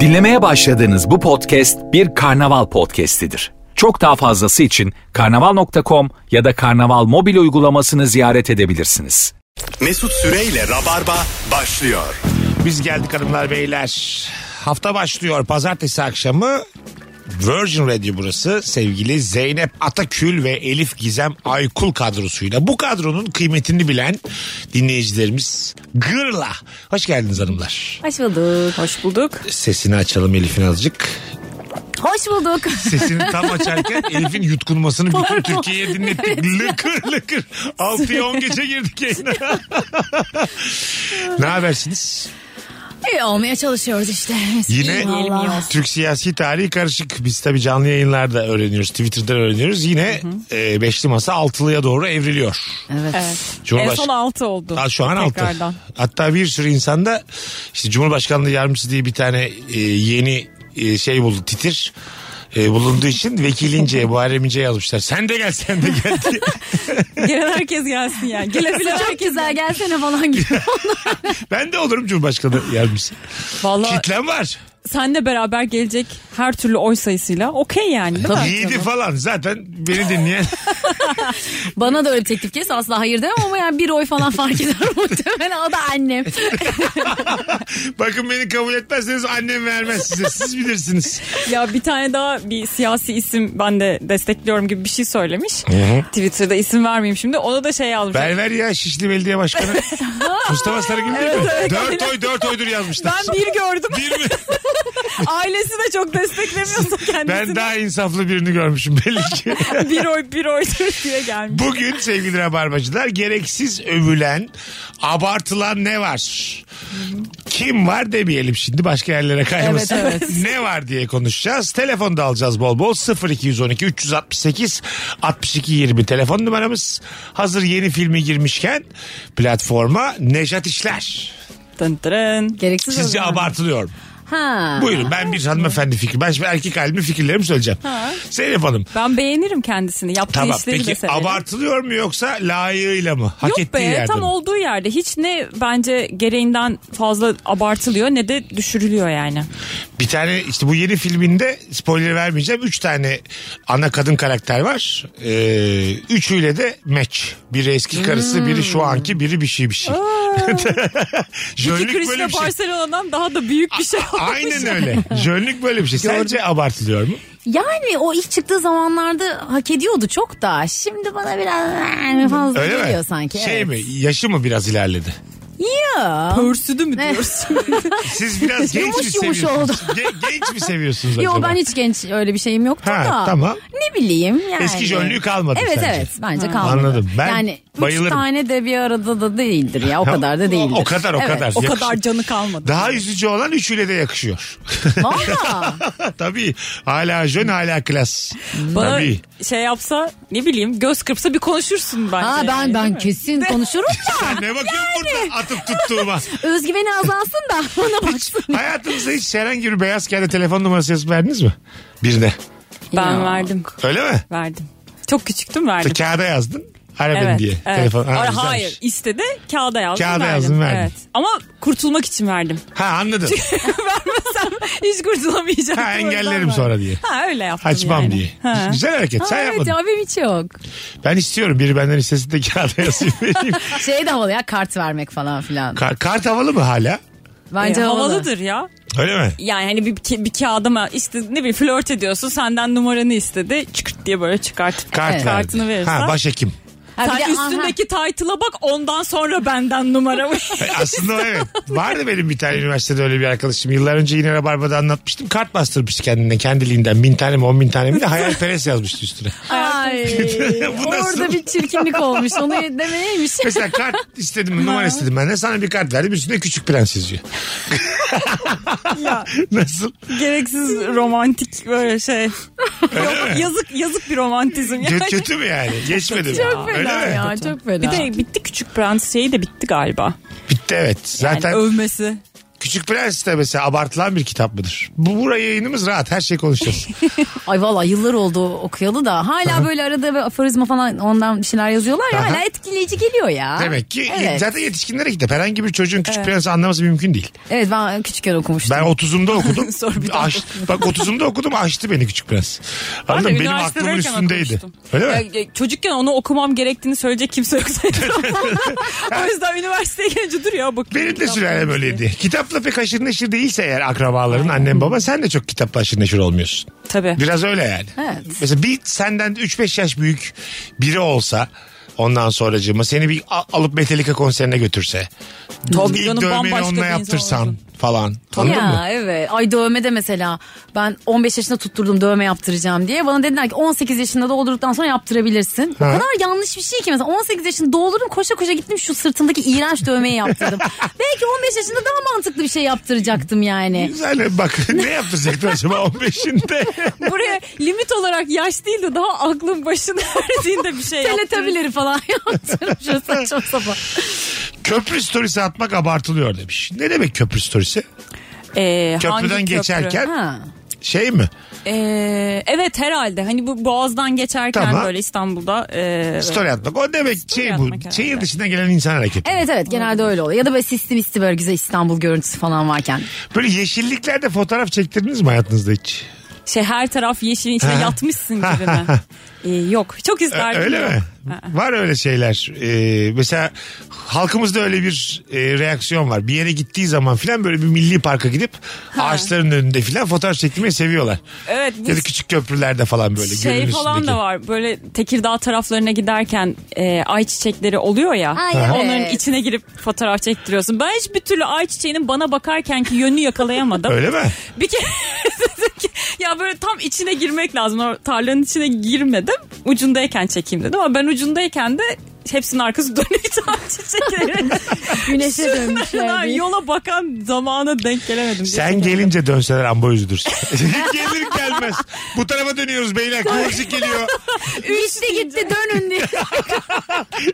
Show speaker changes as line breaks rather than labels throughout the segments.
Dinlemeye başladığınız bu podcast bir karnaval podcastidir. Çok daha fazlası için karnaval.com ya da karnaval mobil uygulamasını ziyaret edebilirsiniz.
Mesut Süreyle Rabarba başlıyor.
Biz geldik hanımlar beyler. Hafta başlıyor pazartesi akşamı. Virgin Radio burası sevgili Zeynep Atakül ve Elif Gizem Aykul kadrosuyla. Bu kadronun kıymetini bilen dinleyicilerimiz Gırla. Hoş geldiniz hanımlar.
Hoş bulduk.
Hoş bulduk.
Sesini açalım Elif'in azıcık.
Hoş bulduk.
Sesini tam açarken Elif'in yutkunmasını bütün Türkiye'ye dinlettik. Lıkır lıkır. 6'ya 10 gece girdik yayına. ne habersiniz?
İyi olmaya çalışıyoruz işte.
Yine
Vallahi.
Türk siyasi tarihi karışık. Biz tabii canlı yayınlarda öğreniyoruz. Twitter'dan öğreniyoruz. Yine e, beşli masa altılıya doğru evriliyor.
Evet.
Evet.
Cumhurbaş-
En son 6 oldu.
Aa, şu an altı.
Tekrardan.
Hatta bir sürü insanda işte Cumhurbaşkanlığı Yardımcısı diye bir tane e, yeni e, şey buldu titir. E, bulunduğu için vekilince Muharrem İnce'ye yazmışlar. Sen de gel sen de gel diye.
Gelen herkes gelsin yani. Gelebilen
Çok güzel gelsene falan gibi.
ben de olurum Cumhurbaşkanı Yardımcısı.
Valla
Kitlem var.
senle beraber gelecek her türlü oy sayısıyla okey yani değil mi?
Yiğidi falan zaten beni dinleyen
Bana da öyle teklif kes asla hayır demem ama yani bir oy falan fark eder muhtemelen o da annem.
Bakın beni kabul etmezseniz annem vermez size. Siz bilirsiniz.
Ya bir tane daha bir siyasi isim ben de destekliyorum gibi bir şey söylemiş. Twitter'da isim vermeyeyim şimdi. Ona da şey yazmış. Ben,
Berber ya Şişli Belediye Başkanı. Mustafa Sarıgül değil mi? dört oy dört oydur yazmışlar.
bir gördüm.
Bir mi?
Ailesi de çok desteklemiyorsa
Ben
kendisini. Hani
daha insaflı birini görmüşüm belli ki.
bir oy bir oydur diye gelmiş.
Bugün sevgili rabarbacılar gereksiz övülen, abartılan ne var? Kim var demeyelim şimdi başka yerlere kaymasın.
Evet, evet.
ne var diye konuşacağız. Telefon da alacağız bol bol. 0212 368 62 20 telefon numaramız. Hazır yeni filmi girmişken platforma Nejat İşler.
Dın dırın.
Gereksiz
Sizce
övgü.
abartılıyor mu?
Ha.
Buyurun ben bir hanımefendi fikri. Ben şimdi erkek halimi fikirlerimi söyleyeceğim. Zeynep Hanım.
Ben beğenirim kendisini. Yaptığı
Tamam
işleri de
peki
severim.
abartılıyor mu yoksa layığıyla mı? Hak
Yok be
ettiği yerde
tam
mi?
olduğu yerde hiç ne bence gereğinden fazla abartılıyor ne de düşürülüyor yani.
Bir tane işte bu yeni filminde spoiler vermeyeceğim. Üç tane ana kadın karakter var. Ee, üçüyle de match. Biri eski karısı, biri şu
Hmm.
anki, biri bir şey bir şey. Jönlük böyle
Krista
bir şey.
Barcelona'dan daha da büyük bir şey olmuş.
Aynen öyle. Jönlük böyle bir şey. Sence abartılıyor mu?
Yani o ilk çıktığı zamanlarda hak ediyordu çok da. Şimdi bana biraz fazla
Öyle
geliyor
mi?
sanki.
Şey
evet.
mi? Yaşı mı biraz ilerledi?
Ya.
Pörsüdü mü
Ne?
diyorsun?
Siz biraz genç mi
Yumuş yumuş
seviyorsunuz? Ge- genç mi seviyorsunuz acaba?
Yo ben hiç genç öyle bir şeyim yoktu
Ha,
da.
tamam.
Ne bileyim yani.
Eski jönlüğü kalmadı
Evet
sence.
evet bence kalmadı.
Anladım. Ben
yani
bayılırım.
üç tane de bir arada da değildir ya o kadar da değildir.
O kadar o
Evet.
kadar.
o
Yakışıyor.
kadar canı kalmadı.
Daha üzücü olan üçüyle de yakışıyor.
Valla.
Tabii. Hala jön hala klas.
Bana
Tabii.
şey yapsa ne bileyim göz kırpsa bir konuşursun bence.
Ha ben
yani, değil
ben
mi?
kesin konuşurum da
Sen ne bakıyorsun burada atıp tuttuğuma?
özgüveni azalsın da ona baksın.
Hayatınızda hiç herhangi bir beyaz kağıda telefon numarası yazıp verdiniz mi? Birine.
Ben
Ya.
verdim.
Öyle mi?
Verdim. Çok küçüktüm verdim.
Kağıda yazdın. Ara beni
Evet,
diye.
evet.
Telefon. Ha,
Hayır,
güzelmiş.
hayır istedi kağıda yazdım
Kağıda
verdim.
yazdım, verdim.
Evet. Ama kurtulmak için verdim.
Ha anladım.
Vermesem hiç kurtulamayacaktım.
Ha,
O yüzden
engellerim
verdim.
sonra diye.
Ha öyle yaptım
Açmam
yani.
diye.
Ha.
Güzel hareket.
Ha,
Sen
evet
yapmadın.
ya benim hiç yok.
Ben istiyorum. Biri benden istesin de kağıda yazayım. vereyim.
Şey de havalı ya kart vermek falan filan.
Kar- kart havalı mı hala?
Bence
E,
havalı.
havalıdır ya.
Öyle mi?
Yani hani bir, bir kağıda mı işte ne bileyim flört ediyorsun senden numaranı istedi çıkırt diye böyle çıkart.
Kart
Evet.
verdi.
Kartını verirsen.
Ha başhekim.
Ha, bir
Sen
de-
üstündeki title'a bak ondan sonra benden numara
E, Aslında evet. Vardı benim bir tane üniversitede öyle bir arkadaşım. Yıllar önce yine Rabarba'da anlatmıştım. Kart bastırmıştı kendine kendiliğinden. Bin tane mi on bin tane mi de hayalperest yazmıştı üstüne.
aha. Ay,
Bu nasıl?
orada bir çirkinlik olmuş. Onu demeyeymiş.
Mesela kart istedim, numara istedim ben de. Sana bir kart verdim. Üstüne küçük prens yazıyor.
ya
Nasıl?
gereksiz romantik böyle şey. Yok, yazık yazık bir romantizm yani.
Kötü, kötü mü yani? Geçmedi mi?
Çok
Öyle
fena
mi?
ya çok fena.
Bir de bitti küçük prens şeyi de bitti galiba.
Bitti evet.
Yani
Zaten
övmesi.
Küçük Prens de mesela abartılan bir kitap mıdır? Bu buraya yayınımız rahat. Her şey konuşacağız.
Ay valla yıllar oldu okuyalı da hala böyle arada ve aforizma falan ondan bir şeyler yazıyorlar ya
Aha.
hala etkileyici geliyor ya.
Demek ki
Evet,
zaten yetişkinlere kitap. Herhangi bir çocuğun Küçük Prens'i anlaması mümkün değil.
evet ben küçükken okumuştum.
Ben 30'umda okudum.
Sor bir daha.
Aş, bak 30'umda okudum açtı beni Küçük Prens. Anladın mı? Benim aklımın
üniversitedeyken
üstündeydi.
okumuştum.
Öyle mi?
Ya, ya, çocukken onu okumam gerektiğini söyleyecek kimse yok zaten. o yüzden üniversiteye gelince dur ya bak.
Benim de sülalem öyleydi. Kitapla pek haşır neşir değilse eğer akrabaların annem baba sen de çok kitapla haşır neşir olmuyorsun.
Tabii.
Biraz öyle yani.
Evet.
Mesela bir senden 3-5 yaş büyük biri olsa ondan sonracığıma seni bir a- alıp Metallica konserine götürse.
Tabii
İlk
canım,
dövmeni
bambaşka
onunla
bir insan
yaptırsan
olursun.
falan. Anladın
ya
mı?
evet. Ay dövme de mesela ben 15 yaşında tutturdum dövme yaptıracağım diye. Bana dediler ki 18 yaşında doldurduktan sonra yaptırabilirsin.
Ha.
O kadar yanlış bir şey ki mesela 18 yaşında doldurdum koşa koşa gittim şu sırtımdaki iğrenç dövmeyi yaptırdım. Belki 15 yaşında daha mantıklı bir şey yaptıracaktım yani.
Güzel bak ne yaptıracaktın acaba 15'inde?
Buraya limit olarak yaş değil de daha aklın başına erdiğinde bir şey yaptırır.
Teletabileri falan yaptırmışım saçma sapan.
köprü storiesi atmak abartılıyor demiş. Ne demek köprü storiesi?
Ee, hangi
Köprüden
köprü?
geçerken
Ha.
şey mi?
Ee, evet herhalde. Hani bu Boğaz'dan geçerken
Tamam.
böyle İstanbul'da. ee,
Story atmak. O demek şey bu.
atmak herhalde.
Şehir dışından gelen insan hareketi.
Evet evet genelde öyle oluyor. Ya da böyle sisli misli böyle güzel İstanbul görüntüsü falan varken.
Böyle yeşilliklerde fotoğraf çektirdiniz mi hayatınızda hiç?
şey her taraf yeşilin içine
Ha.
yatmışsın gibi mi? Ee, yok. Çok
Ö-
isterdim.
öyle
yok.
mi?
Ha.
Var öyle şeyler. Ee, mesela halkımızda öyle bir e, reaksiyon var. Bir yere gittiği zaman filan böyle bir milli parka gidip ağaçların önünde filan fotoğraf çektirmeyi seviyorlar.
Evet, bu-
Ya da küçük köprülerde falan böyle.
şey
gölün
falan
üstündeki.
da var böyle Tekirdağ taraflarına giderken e, ay çiçekleri oluyor ya
Ay, evet.
onların içine girip fotoğraf çektiriyorsun. Ben hiçbir türlü ay çiçeğinin bana bakarken ki yönünü yakalayamadım.
Öyle mi?
Bir kere dedim ki ya böyle tam içine girmek lazım. O tarlanın içine girmedim. Ucundayken çekeyim dedim ama ben ucundayken de hepsinin arkası dönük tam çiçekleri.
Güneşe
Şunlar
dönmüşler. diye.
yola bakan zamana denk gelemedim.
Sen gelince dönseler amba üzülürsün. Gelir gelmez. Bu tarafa dönüyoruz beyler. Kıvırcık geliyor.
Gitti gitti dönün diye.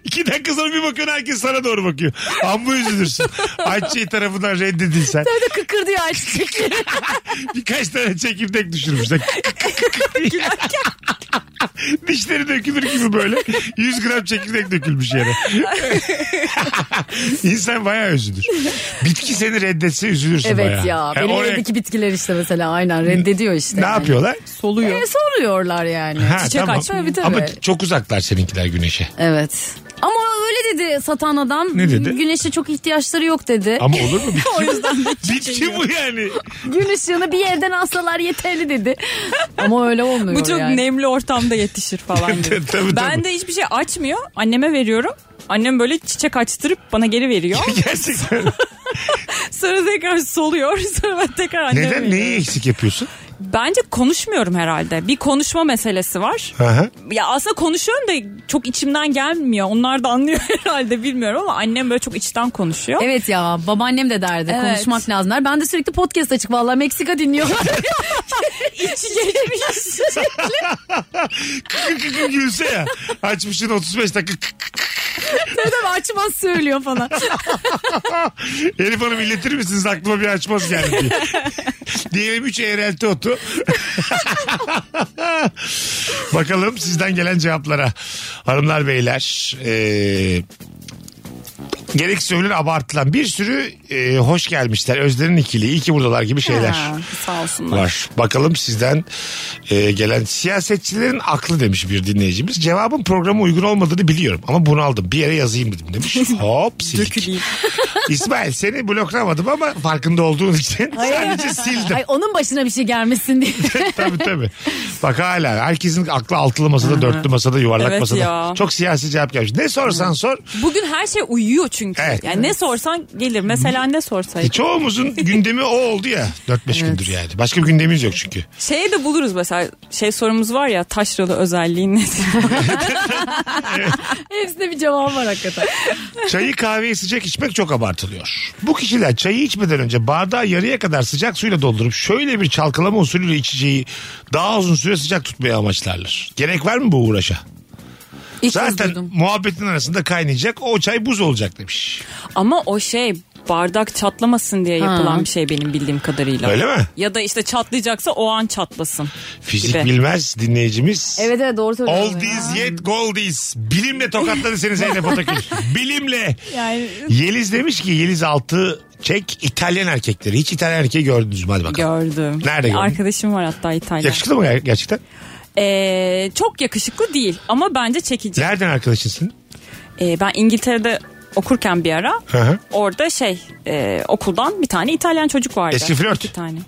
İki dakika sonra bir bakıyorsun herkes sana doğru bakıyor. Amba üzülürsün. Ayçiçeği tarafından reddedilsen.
Böyle kıkır diyor ay çiçekleri.
Birkaç tane çekirdek düşürmüşler. Dişleri dökülür gibi böyle. 100 gram çekirdek dökülmüş yere. İnsan bayağı üzülür. Bitki seni reddetse üzülürsün
Evet
bayağı.
ya.
Yani
Benim
oraya-
evdeki bitkiler işte mesela aynen reddediyor işte.
Ne
yani.
yapıyorlar?
soluyor.
E, soruyorlar yani.
Ha,
Çiçek
tamam.
açma,
tabii, tabii.
Ama çok uzaklar seninkiler güneşe.
Evet. Ama öyle dedi satan adam.
Ne dedi?
Güneşe çok ihtiyaçları yok dedi.
Ama olur mu? Bitki,
O yüzden de
bitki bu yani.
Gün ışığını bir yerden alsalar yeterli dedi. Ama öyle olmuyor
Bu çok
yani.
nemli ortamda yetişir falan gibi.
Tabii,
ben
tabii.
de hiçbir şey açmıyor. Anneme veriyorum. Annem böyle çiçek açtırıp bana geri veriyor.
Gerçekten.
Sonra tekrar soluyor. Sonra ben tekrar anneme
Neden
veriyorum.
neyi eksik yapıyorsun?
Bence konuşmuyorum herhalde. Bir konuşma meselesi var.
Aha.
Ya aslında konuşuyorum da çok içimden gelmiyor. Onlar da anlıyor herhalde bilmiyorum ama annem böyle çok içten konuşuyor.
Evet ya babaannem de derdi
Evet.
konuşmak lazım. der. Ben de sürekli podcast açık vallahi Meksika dinliyorlar. İçi
Şey
geçmiş.
Kıkır kıkır gülse ya. Açmışsın 35 dakika kık kık.
Tabii açmaz söylüyor falan.
Elif Hanım iletir misiniz aklıma bir açmaz geldi diye. Diyelim 3 eğrelti otu. Bakalım sizden gelen cevaplara. Hanımlar beyler. Eee Gerekse övülür abartılan bir sürü eee, hoş gelmişler. Özlerin ikili, iyi ki buradalar gibi şeyler.
Ha, sağ olsunlar.
var. Bakalım sizden e, gelen siyasetçilerin aklı demiş bir dinleyicimiz. Cevabın programa uygun olmadığını biliyorum ama bunu aldım. Bir yere yazayım dedim demiş. Hop sildik.
Döküleyim.
İsmail seni bloklamadım ama farkında olduğun için sadece sildim.
Ay onun başına bir şey gelmesin diye.
tabii tabii. Bak hala herkesin aklı altılı masada, dörtlü masada, yuvarlak
Evet
masada.
ya.
Çok siyasi cevap gelmiş. Ne sorsan sor.
Bugün her şey uyuyor çünkü.
Evet.
Yani ne sorsan gelir. Mesela ne sorsaydın?
E, çoğumuzun gündemi o oldu ya. 4-5 gündür yani. Başka bir gündemimiz yok çünkü.
Şeyi de buluruz mesela şey sorumuz var ya taşralı özelliğin ne?
Hepsinde bir cevap var hakikaten.
Çayı kahveyi sıcak içmek çok abartılıyor. Bu kişiler çayı içmeden önce bardağı yarıya kadar sıcak suyla doldurup şöyle bir çalkalama usulüyle içeceği daha uzun süre sıcak tutmaya amaçlarlar. Gerek var mı bu uğraşa?
İlk kez
Zaten
duydum.
muhabbetin arasında kaynayacak. O çay buz olacak demiş.
Ama o şey bardak çatlamasın diye yapılan
Ha.
bir şey benim bildiğim kadarıyla.
Öyle mi?
Ya da işte çatlayacaksa o an çatlasın.
Fizik
Gibi.
bilmez dinleyicimiz.
Evet evet doğru söylüyorsun.
All these yet goldies. Bilimle tokatladı seni Zeynep Atakül. Bilimle.
Yani-
Yeliz demiş ki Yeliz altı çek İtalyan erkekleri. Hiç İtalyan erkeği gördünüz mü? Hadi bakalım.
Gördüm.
Nerede gördün?
Arkadaşım var hatta İtalyan.
Yakışıklı mı ger- gerçekten?
Ee, çok yakışıklı değil ama bence çekici.
Nereden arkadaşısın?
Ee, ben İngiltere'de okurken bir ara
Hı hı.
orada şey e, okuldan bir tane İtalyan çocuk vardı.
Eski flört. E,
İki tane.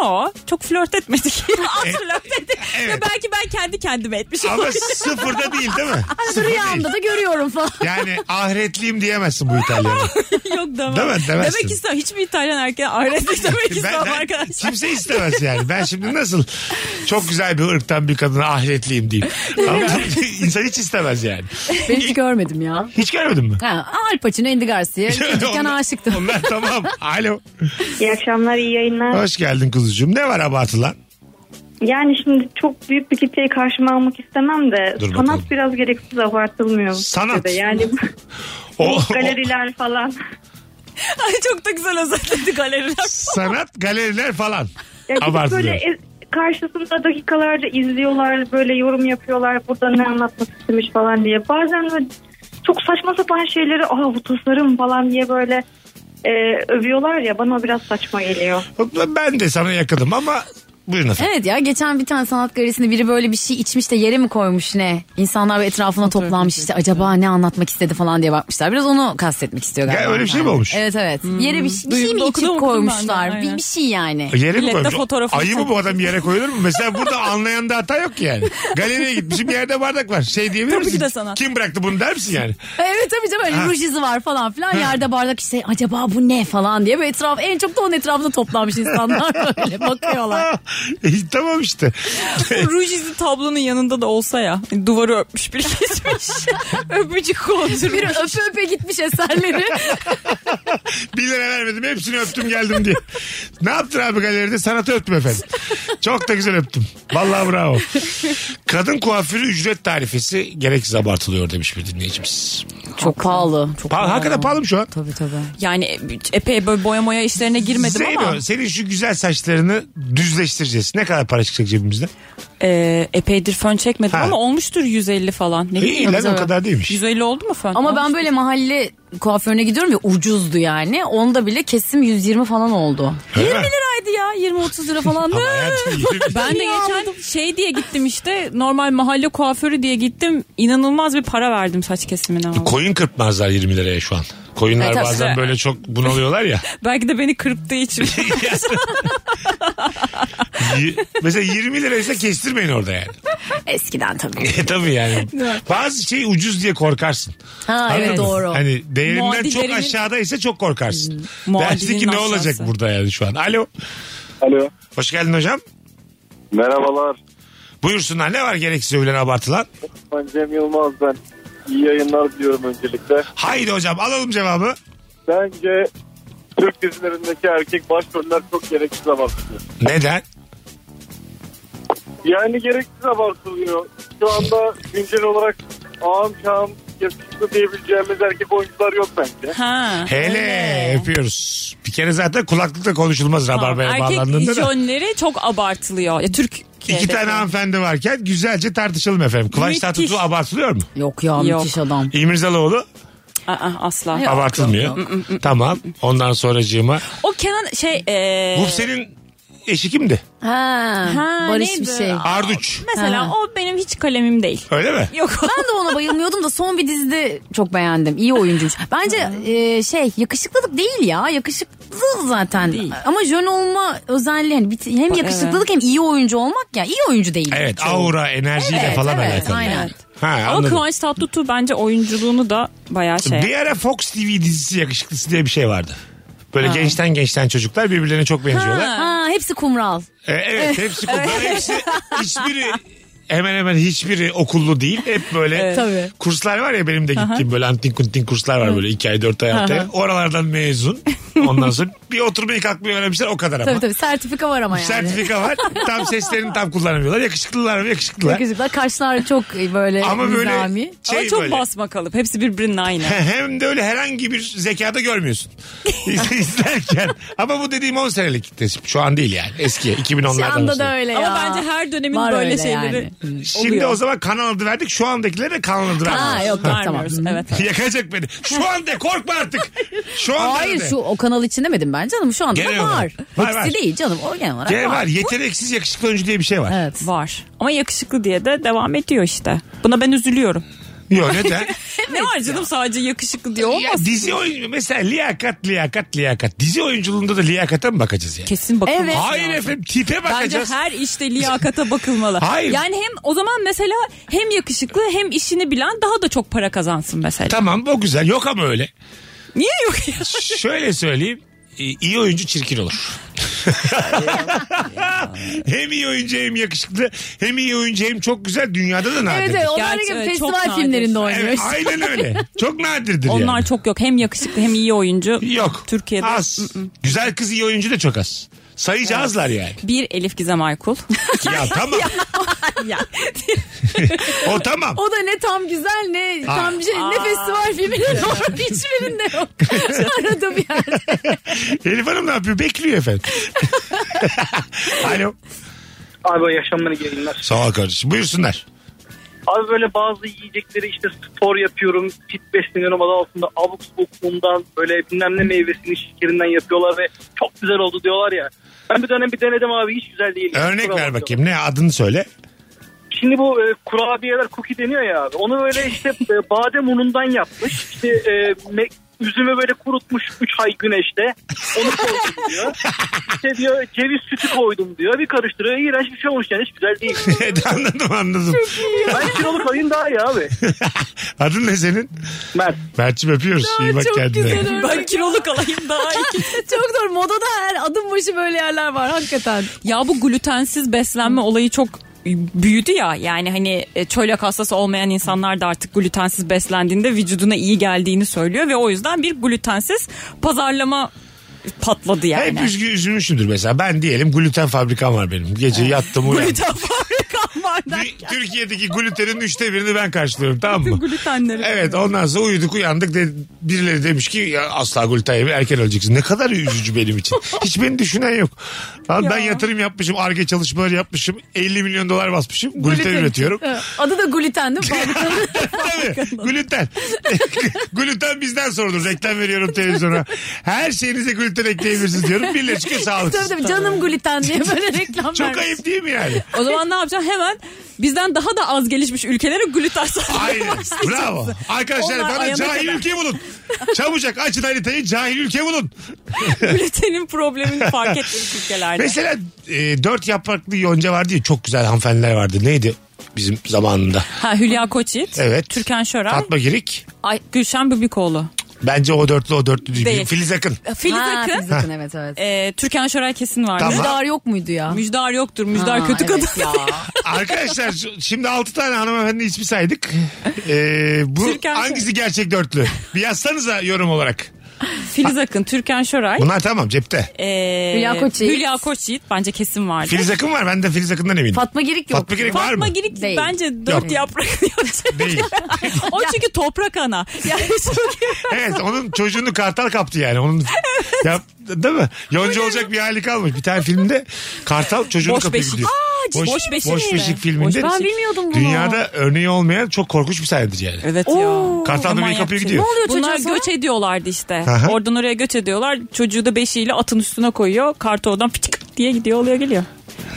Yo çok flört etmedik. Az flört ettik.
evet.
Ya belki ben kendi kendime etmişim.
Ama sıfırda değil değil mi? Sıfır değil.
Rüyamda da görüyorum falan.
Yani ahretliyim diyemezsin bu İtalyana.
Yok demem.
Değil mi? Demezsin.
Demek istemem. Hiçbir İtalyan erkeğe ahiret demek istemem arkadaşlar.
kimse istemez yani. Ben şimdi nasıl çok güzel bir ırktan bir kadına ahretliyim diyeyim. Ama insan hiç istemez yani.
Ben hiç görmedim ya.
Hiç görmedin mi?
Ha, Al Pacino, Andy Garcia. Çocukken
Onlar-
aşıktım.
Onlar tamam. Alo.
İyi akşamlar, iyi yayınlar.
Hoş geldin kuzucuğum. Ne var abartılan?
Yani şimdi çok büyük bir kitleyi karşıma almak istemem de
Dur
sanat
bakalım.
biraz gereksiz abartılmıyor. bu
Sanat.
ülkede. Yani bu
O, o-
galeriler falan.
Ay çok da güzel özetledi galeriler.
sanat galeriler falan.
Ya gidip
Abartılıyor.
böyle e- karşısında dakikalarca izliyorlar, böyle yorum yapıyorlar. Burada ne anlatmak istemiş falan diye. Bazen böyle çok saçma sapan şeyleri aa bu tasarım falan diye böyle e, övüyorlar ya bana o biraz saçma geliyor.
Ben de sana yakınım ama buyurun efendim.
Evet ya geçen bir tane sanat galerisinde biri böyle bir şey içmiş de yere mi koymuş ne? İnsanlar böyle etrafına toplanmış işte acaba ne anlatmak istedi falan diye bakmışlar. Biraz onu kastetmek istiyor galiba.
Ya öyle bir şey mi
Yani.
olmuş?
Evet evet. Yere bir, şey- bir şey
Duyumda
mi
Hmm. okudum,
içip
okudum ben de,
koymuşlar? Bir,
aynen.
bir şey yani.
Yere mi
Millette
koymuş?
fotoğrafını
Ayı mı bu adam yere koyulur mu? Mesela burada anlayan da hata yok ki yani. Galeriye gitmişim yerde bardak var. Şey diyebilir
Tabii ki
misin?
de sanat.
Kim bıraktı bunu der misin yani?
Evet tabii canım öyle
Ha.
ruj izi var falan filan. Yerde bardak işte acaba bu ne falan diye. Böyle etraf, en çok da onun etrafında toplanmış insanlar böyle bakıyorlar.
Ha, e, tamam işte.
Ruj izi tablonun yanında da olsa ya. Duvarı öpmüş biri geçmiş. Öpücük kondur.
Biri öpe öpe gitmiş eserleri.
Bir lira vermedim hepsini öptüm geldim diye. Ne yaptın abi galeride? Sanatı öptüm efendim. Çok da güzel öptüm. Vallahi bravo. Kadın kuaförü ücret tarifesi gereksiz abartılıyor demiş bir dinleyicimiz.
çok pahalı. Çok
Pa- hakikaten pahalı mı şu an?
Tabii tabii.
Yani epey böyle boya moya işlerine girmedim ama
Zeyno senin şu güzel saçlarını düzleştireceğiz. Ne kadar para çıkacak cebimizde?
e, epeydir fön çekmedim
Ha.
ama olmuştur 150 falan. Ne bileyim.
İyi lan o kadar değilmiş.
150 oldu mu fön?
Ama
Olmuş.
ben böyle mahalle kuaförüne gidiyorum ya ucuzdu yani. Onda bile kesim 120 falan oldu. 20 liraydı ya 20-30 lira falan.
Ama hayatım yirmi-
Ben de geçen şey diye gittim işte normal mahalle kuaförü diye gittim. İnanılmaz bir para verdim saç kesimine. ama.
Koyun kırpmazlar 20 liraya şu an. Koyunlar
Evet, tabii.
bazen böyle çok bunalıyorlar ya.
Belki de beni kırptığı için.
Y- Mesela 20 liraysa kestirmeyin orada yani.
Eskiden tabii.
E tabii yani. Bazı şey ucuz diye korkarsın.
Ha
Anladın
evet
mı?
doğru.
Hani değerinden çok
Muadillerinin-
aşağıdaysa çok korkarsın.
muadilin
Dersin ki ne
aşağısı.
olacak burada yani şu an. Alo.
Alo.
Hoş geldin hocam.
Merhabalar.
Buyursunlar ne var gereksiz övülen abartılan?
Ben Cem Yılmaz ben. İyi yayınlar diliyorum öncelikle.
Haydi hocam alalım cevabı.
Bence Türk dizilerindeki erkek başroller çok gereksiz abartılıyor.
Neden?
Yani gereksiz abartılıyor. Şu anda güncel olarak ağam şahım yakışıklı diyebileceğimiz erkek oyuncular yok bence.
ha.
Hele öpüyoruz. Bir kere zaten kulaklıkla konuşulmaz
Tamam,
rabarbaya bağlandığında
Erkek
da.
jönleri çok abartılıyor. Ya Türk
İki tane hanımefendi varken güzelce tartışalım efendim. Kıvanç
Müthiş.
Tatlıtuğ abartılıyor mu?
Yok ya
Yok.
müthiş adam.
İmirzalıoğlu
Aa, asla.
abartılmıyor. Tamam. Ondan sonracığıma.
O Kenan şey e,
Bu senin eşi kimdi?
Ha,
Ha,
Barış bir
neydi?
şey.
Arduç.
mesela
Ha.
o benim hiç kalemim değil.
Öyle mi?
Yok.
Ben de ona bayılmıyordum da son bir dizide çok beğendim. İyi oyuncuymuş. Bence e, şey yakışıklılık değil ya. Yakışıklılık zaten. Ama jön olma özelliği. hani bir- hem yakışıklılık hem iyi oyuncu olmak ya. iyi oyuncu değil.
Evet aura enerjiyle
Evet,
falan
evet,
alakalı.
aynen.
Ha,
Ama
anladım.
Kıvanç Tatlıtuğ bence oyunculuğunu da bayağı şey.
Bir ara Fox TV dizisi yakışıklısı diye bir şey vardı. Böyle gençten gençten çocuklar birbirlerine çok benziyorlar.
Ha, hepsi kumral.
E, evet hepsi bunlar hepsi hiçbiri hemen hemen hiçbiri okullu değil. Hep böyle
Tabii.
kurslar var ya benim de gittiğim böyle antin kuntin kurslar var böyle 2 ay 4 ay 6 ay. Oralardan mezun. Ondan sonra bir oturmayı kalkmayı öğrenmişler o kadar ama.
Tabii tabii sertifika var ama yani.
Sertifika var. Tam seslerini tam kullanamıyorlar. Yakışıklılar mı yakışıklılar.
Yakışıklılar karşılar çok böyle
Ama böyle
nizami.
şey
Ama çok
böyle.
basma kalıp. Hepsi birbirinin aynı.
Hem de öyle herhangi bir zekada görmüyorsun. İz- İzlerken. Ama bu dediğim 10 senelik tespit. Şu an değil yani. Eski 2010'lardan.
Şu anda da
olsun.
öyle ya.
Ama bence her dönemin
Var
böyle
öyle
şeyleri.
yani.
Şimdi
oluyor.
o zaman kanal adı verdik. Şu andakilere de kanal adı vermiyoruz.
Ha yok yok tamam.
Vermiyoruz. Evet.
Yakacak beni. Şu anda korkma artık. Şu anda
Hayır şu o kanal için demedim ben canım şu anda
Genel
da var.
olarak. Var,
Hepsi
var.
değil canım o genel olarak
Şey
var.
var. Yeteneksiz yakışıklı oyuncu diye bir şey var.
Evet.
Var. Ama yakışıklı diye de devam ediyor işte. Buna ben üzülüyorum.
Yok neden?
ne var canım sadece yakışıklı diye
ya
olmaz.
dizi oyuncu mesela liyakat liyakat liyakat. Dizi oyunculuğunda da liyakata mı bakacağız yani?
Kesin bakın.
Evet.
Hayır efendim tipe
Bence
bakacağız.
her işte liyakata bakılmalı.
Hayır.
Yani hem o zaman mesela hem yakışıklı hem işini bilen daha da çok para kazansın mesela.
Tamam o güzel yok ama öyle.
Niye yok ya?
Şöyle söyleyeyim. e, iyi oyuncu çirkin olur. hem iyi oyuncu hem yakışıklı hem iyi oyuncu hem çok güzel dünyada da nadir.
Evet evet onlar
Gerçi
gibi
evet, çok
festival
nadir. şey.
filmlerinde oynuyor.
Evet,
işte.
aynen öyle. Çok nadirdir yani.
Onlar çok yok. Hem yakışıklı hem iyi oyuncu.
Yok.
Türkiye'de.
Az. Güzel kız iyi oyuncu da çok az. Sayıca azlar yani.
Bir Elif Gizem Aykul.
Ya tamam.
ya.
o tamam.
O da ne tam güzel ne tam şey ne festival filminin var hiçbirinde yok. Arada bir yerde.
Elif Hanım ne yapıyor? Bekliyor efendim. Alo.
Abi yaşamları gelinler.
Sağ ol kardeşim. Buyursunlar.
Abi böyle bazı yiyecekleri işte spor yapıyorum, fit besleniyorum adı altında abuk subuk undan böyle bilmem ne meyvesinin şekerinden yapıyorlar ve çok güzel oldu diyorlar ya. Ben bir dönem bir denedim abi hiç güzel değil.
Örnek
Kusura
ver
bakma.
bakayım. Ne adını söyle.
Şimdi bu e, kurabiyeler cookie deniyor ya abi. Onu böyle işte e, badem unundan yapmış. İşte e, me- üzümü böyle kurutmuş 3 ay güneşte. Onu koydum diyor. İşte diyor ceviz sütü koydum diyor. Bir karıştırıyor. İğrenç bir şey olmuş yani hiç güzel değil.
anladım anladım.
ben kiloluk alayım daha iyi abi.
Adın ne senin?
Mert.
Mert'cim öpüyoruz. İyi bak
çok
kendine.
güzel örnek.
ben kiloluk alayım daha iyi.
Çok doğru modada her adım başı böyle yerler var hakikaten.
Ya bu glutensiz beslenme olayı çok büyüdü ya yani hani e, çölyak hastası olmayan insanlar da artık glutensiz beslendiğinde vücuduna iyi geldiğini söylüyor ve o yüzden bir glutensiz pazarlama patladı yani.
Hep üzgü, üzülmüşümdür mesela. Ben diyelim gluten fabrikam var benim. Gece yattım uyandım.
Gluten fabrikam var derken.
Tü- Türkiye'deki glutenin üçte birini ben karşılıyorum tamam mı?
Glutenleri.
Evet ondan sonra uyuduk uyandık. De, birileri demiş ki ya, asla gluten yeme erken öleceksin. Ne kadar üzücü benim için. Hiç beni düşünen yok. Lan Ben
Ya.
yatırım yapmışım. Arge çalışmaları yapmışım. 50 milyon dolar basmışım. Gluten, üretiyorum.
Evet. Adı da gluten değil mi? Fabrikanın-
Tabii gluten. gluten bizden sorulur. Reklam veriyorum televizyona. Her şeyinize gluten ekleyebilirsiniz diyorum. Birileri çıkıyor
tabii
sağlıksız.
tabii canım gluten diye böyle reklam
Çok
vermiş.
ayıp değil mi yani?
O zaman ne yapacaksın? Hemen bizden daha da az gelişmiş ülkelere gluten
Aynen.
satmaya başlayacaksın.
Bravo. Arkadaşlar
Onlar
bana
ayana
cahil
kadar.
ülke bulun. Çabucak açın haritayı cahil ülke bulun.
Glutenin problemini fark etmiş ülkelerde.
Mesela e, dört yapraklı yonca vardı ya çok güzel hanımefendiler vardı. Neydi bizim zamanında?
Ha, Hülya Koçit,
Evet.
Türkan Şoray,
Fatma Girik.
Ay, Gülşen Bubikoğlu.
Bence o dörtlü o dörtlü değil.
Değil.
Filiz Akın.
Filiz
Ha,
Akın.
E, Filiz Akın evet evet.
Ee, Türkan Şoray kesin vardı.
Tamam.
Müjdar yok muydu ya?
Müjdar yoktur. Müjdar
Ha,
kötü
evet
kadın.
ya.
Arkadaşlar şu- şimdi altı tane hanımefendi ismi saydık. E, bu
Türkan
hangisi gerçek dörtlü? Bir yazsanıza yorum olarak.
Filiz Akın, Türkan Şoray.
Bunlar tamam cepte.
ee,
Hülya Koçyiğit.
Hülya Koçyiğit bence kesin vardı.
Filiz Akın var. Ben de Filiz Akın'dan eminim.
Fatma Girik yok.
Fatma Girik var
Fatma
mı?
Girik
Değil.
bence dört
Yok.
yaprak yiyecek.
Değil.
o çünkü toprak ana. Yani çünkü-
Evet onun çocuğunu kartal kaptı yani. Onun ya, değil mi? Yonca olacak bir hali kalmış. Bir tane filmde kartal çocuğunu
Boş
kapıyor
beşik.
gidiyor.
Aa,
boş,
boş beşik
boş
mi?
beşik filminde.
Ben bilmiyordum bunu.
Dünyada örneği olmayan çok korkunç bir sahnedir yani.
evet ya.
Kartal bebeği kapıyor
Aman yapacak.
gidiyor.
Ne oluyor
Bunlar
çocuğa sonra?
göç ediyorlardı işte.
Aha.
Oradan oraya göç ediyorlar. Çocuğu da beşiğiyle atın üstüne koyuyor. Kartı oradan fıçık diye gidiyor oluyor geliyor.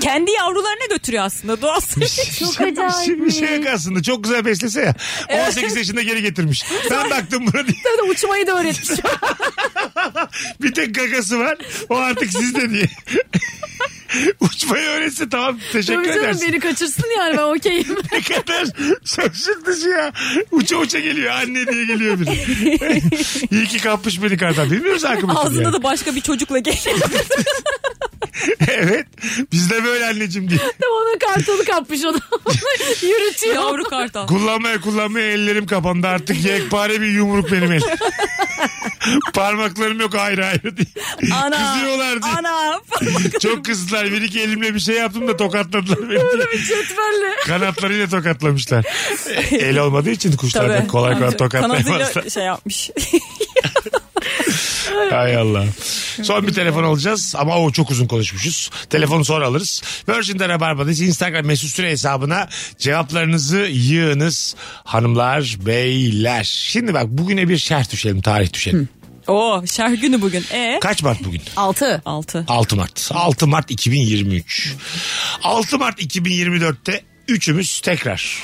Kendi yavrularına götürüyor aslında doğası.
Çok
Şimdi
acayip.
şey yok aslında çok güzel beslese ya. 18 yaşında geri getirmiş. Ben baktım buna diye.
Tabii de uçmayı da öğretmiş.
Bir tek gagası var. O artık sizde diye. Uçmayı öğretse tamam teşekkür
Tabii canım
edersin.
beni kaçırsın yani ben okeyim.
ne kadar şaşırtıcı ya. Uça uça geliyor anne diye geliyor biri. İyi ki kapmış beni kartal. Bilmiyoruz hakkımızı.
Ağzında da başka bir çocukla geliyor.
evet. Biz de böyle anneciğim diye.
Ona kartonu kapmış onu. Yürütüyor.
Yavru kartal.
Kullanmaya kullanmaya ellerim kapandı artık yekpare bir yumruk benim el. Parmaklarım yok ayrı ayrı diye.
Ana.
Kızıyorlar diye.
Ana.
Çok kızdılar. Bir iki elimle bir şey yaptım da tokatladılar beni. diye.
Cetvelli.
Kanatlarıyla tokatlamışlar. El olmadığı için kuşlar da kolay kolay tokatlayamazlar.
Kanadıyla şey yapmış.
Hay Allah. Son bir telefon alacağız ama o çok uzun konuşmuşuz. Telefonu sonra alırız. Virgin'de Rabarba'dayız. Instagram mesut süre hesabına cevaplarınızı yığınız hanımlar beyler. Şimdi bak bugüne bir şerh düşelim tarih düşelim.
Oo şerh günü bugün. E
Kaç Mart bugün?
6.
6.
6 Mart. 6 Mart 2023. 6 Mart 2024'te üçümüz tekrar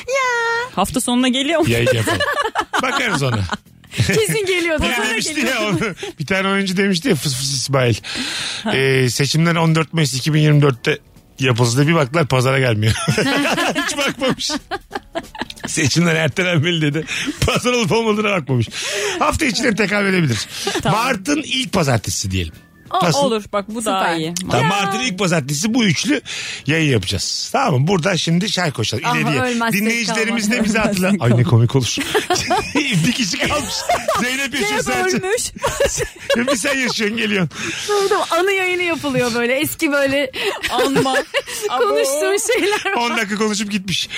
Hafta sonuna geliyor mu?
yayın yapalım. Bakarız ona.
Kesin geliyordu.
Bir tane demişti ya onu. Bir tane oyuncu demişti ya fıs fıs İsmail. Ee, seçimler 14 Mayıs 2024'te yapılsın diye bir baktılar pazara gelmiyor. Hiç bakmamış. Seçimler ertelenmeli dedi. Pazar olup olmadığına bakmamış. Hafta içinde tekabül edebilir. Mart'ın ilk pazartesi diyelim.
Aa,
Nasıl?
olur bak bu daha
Süper.
iyi.
Tam Mart'ın ilk pazartesi bu üçlü yayın yapacağız. Tamam mı? Burada şimdi şarkı koşalım.
Aha,
İleriye.
ölmezsek
Dinleyicilerimiz de
kalmadı.
bizi hatırlar. Ay ne komik olur. bir kişi kalmış. Zeynep yaşıyor
Hep
sadece.
ölmüş.
bir sen yaşıyorsun geliyorsun.
Anı yayını yapılıyor böyle. Eski böyle
Anma. Abo.
konuştuğun şeyler.
10 dakika konuşup gitmiş.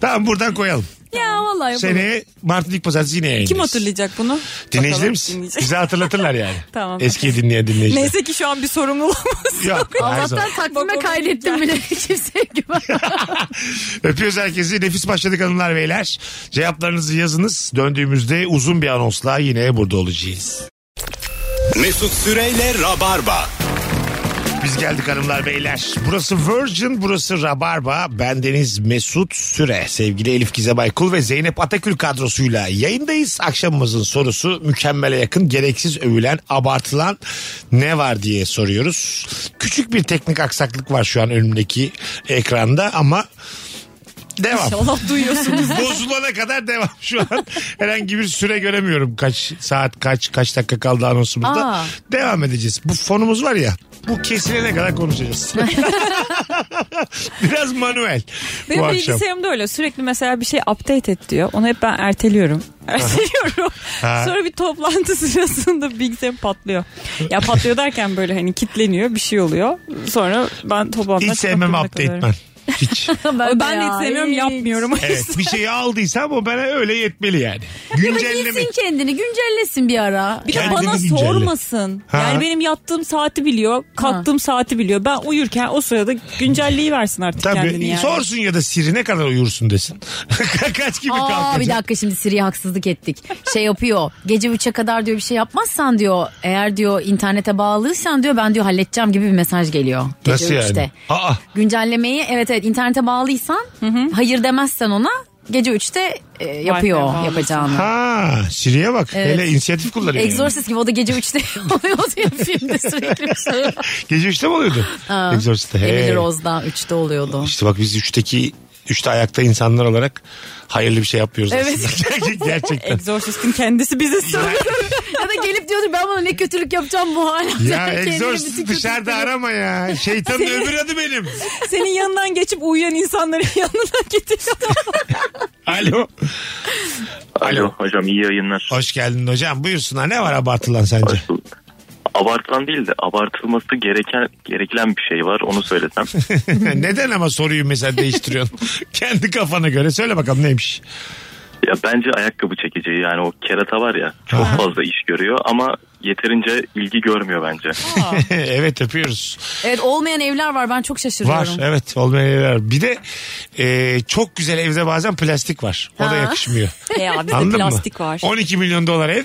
tamam buradan koyalım.
Ya vallahi yapalım.
Seneye Mart'ın ilk pazartesi yine yayındayız.
E, Kim hatırlayacak bunu?
Dinleyicilerimiz
Bakalım, dinleyecek.
bize hatırlatırlar yani.
Tamam.
Eski dinleyen dinleyiciler.
Neyse ki şu an bir sorumluluğumuz.
Yok, her zaman.
Allah'tan takvime
Bak,
kaydettim bile. Kimseye güven.
Öpüyoruz herkesi. Nefis başladık hanımlar beyler. Cevaplarınızı yazınız. Döndüğümüzde uzun bir anonsla yine burada olacağız.
Mesut Süreyle Rabarba.
Biz geldik hanımlar beyler. Burası Virgin, burası Rabarba. Bendeniz Mesut Süre. Sevgili Elif Gizem Aykul ve Zeynep Atakül kadrosuyla yayındayız. Akşamımızın sorusu mükemmele yakın, gereksiz övülen, abartılan ne var diye soruyoruz. Küçük bir teknik aksaklık var şu an önümdeki ekranda ama devam.
Allah duyuyorsunuz.
Bozulana kadar devam şu an. Herhangi bir süre göremiyorum. Kaç saat, kaç kaç dakika kaldı anonsumuzda.
Aa.
Devam edeceğiz. Bu fonumuz var ya. Bu kesilene kadar konuşacağız. Biraz manuel
Benim
bu akşam.
bilgisayarımda öyle sürekli mesela bir şey update et diyor. Onu hep ben erteliyorum. Erteliyorum.
Ha.
Sonra bir toplantı sırasında bilgisayarım patlıyor. Ya patlıyor derken böyle hani kitleniyor bir şey oluyor. Sonra ben toplantıda
Hiç sevmem update ben. Hiç.
Ben,
de
de
ya,
hiç sevmiyorum
hiç.
yapmıyorum.
Evet, bir şeyi aldıysam o bana öyle yetmeli yani.
Ya da
Güncellemek.
gitsin kendini güncellesin bir ara.
Bir de
Kendini
bana
güncelle.
sormasın.
Ha.
Yani benim yattığım saati biliyor, kalktığım saati biliyor. Ben uyurken o sırada güncelliği versin artık
Tabii.
kendini yani.
Sorsun ya da Siri ne kadar uyursun desin. Kaç gibi
Aa bir
kalkacak.
dakika şimdi Siri'ye haksızlık ettik. Şey yapıyor. Gece 3'e kadar diyor bir şey yapmazsan diyor. Eğer diyor internete bağlıysan diyor ben diyor halledeceğim gibi bir mesaj geliyor. Gece
Nasıl yani?
üçte.
Aa,
Güncellemeyi evet evet internete bağlıysan hayır demezsen ona gece 3'te e, yapıyor
bağlısın.
yapacağını.
ha, Siri'ye bak.
Evet.
Hele inisiyatif kullanıyor. yani.
Exorcist gibi o da gece 3'te oluyor diye filmde sürekli bir şey var.
Gece 3'te mi oluyordu? Exorcist'te. Hey.
Emily Rose'da 3'te oluyordu.
İşte bak biz 3'teki 3'te ayakta insanlar olarak hayırlı bir şey yapıyoruz
Evet.
aslında. Gerçekten.
Exorcist'in kendisi bize söylüyor.
ya da gelip diyordur ben bana ne kötülük yapacağım bu hala.
ya
Kendine bütün
Exorcist
kötülükleri-
dışarıda arama ya. Şeytanın öbür adı benim.
Senin yanından geçip uyuyan insanların yanına gidiyor.
Alo.
Alo hocam iyi yayınlar.
Hoş geldin hocam. Buyursunlar. Ne var abartılan sence?
Hoş bulduk. Abartılan değil de abartılması gereken gerekilen bir şey var onu söylesem.
Neden ama soruyu mesela değiştiriyorsun? Kendi kafana göre. Söyle bakalım neymiş?
ya bence ayakkabı çekeceği yani o kerata var ya çok fazla iş görüyor ama yeterince ilgi görmüyor bence.
evet öpüyoruz.
Evet olmayan evler var ben çok şaşırıyorum.
Var evet olmayan evler var. Bir de e, çok güzel evde bazen plastik var. O da
Ha.
yakışmıyor.
Şey
Ya
Anladın
bizde plastik
mı?
var.
12 milyon dolar ev.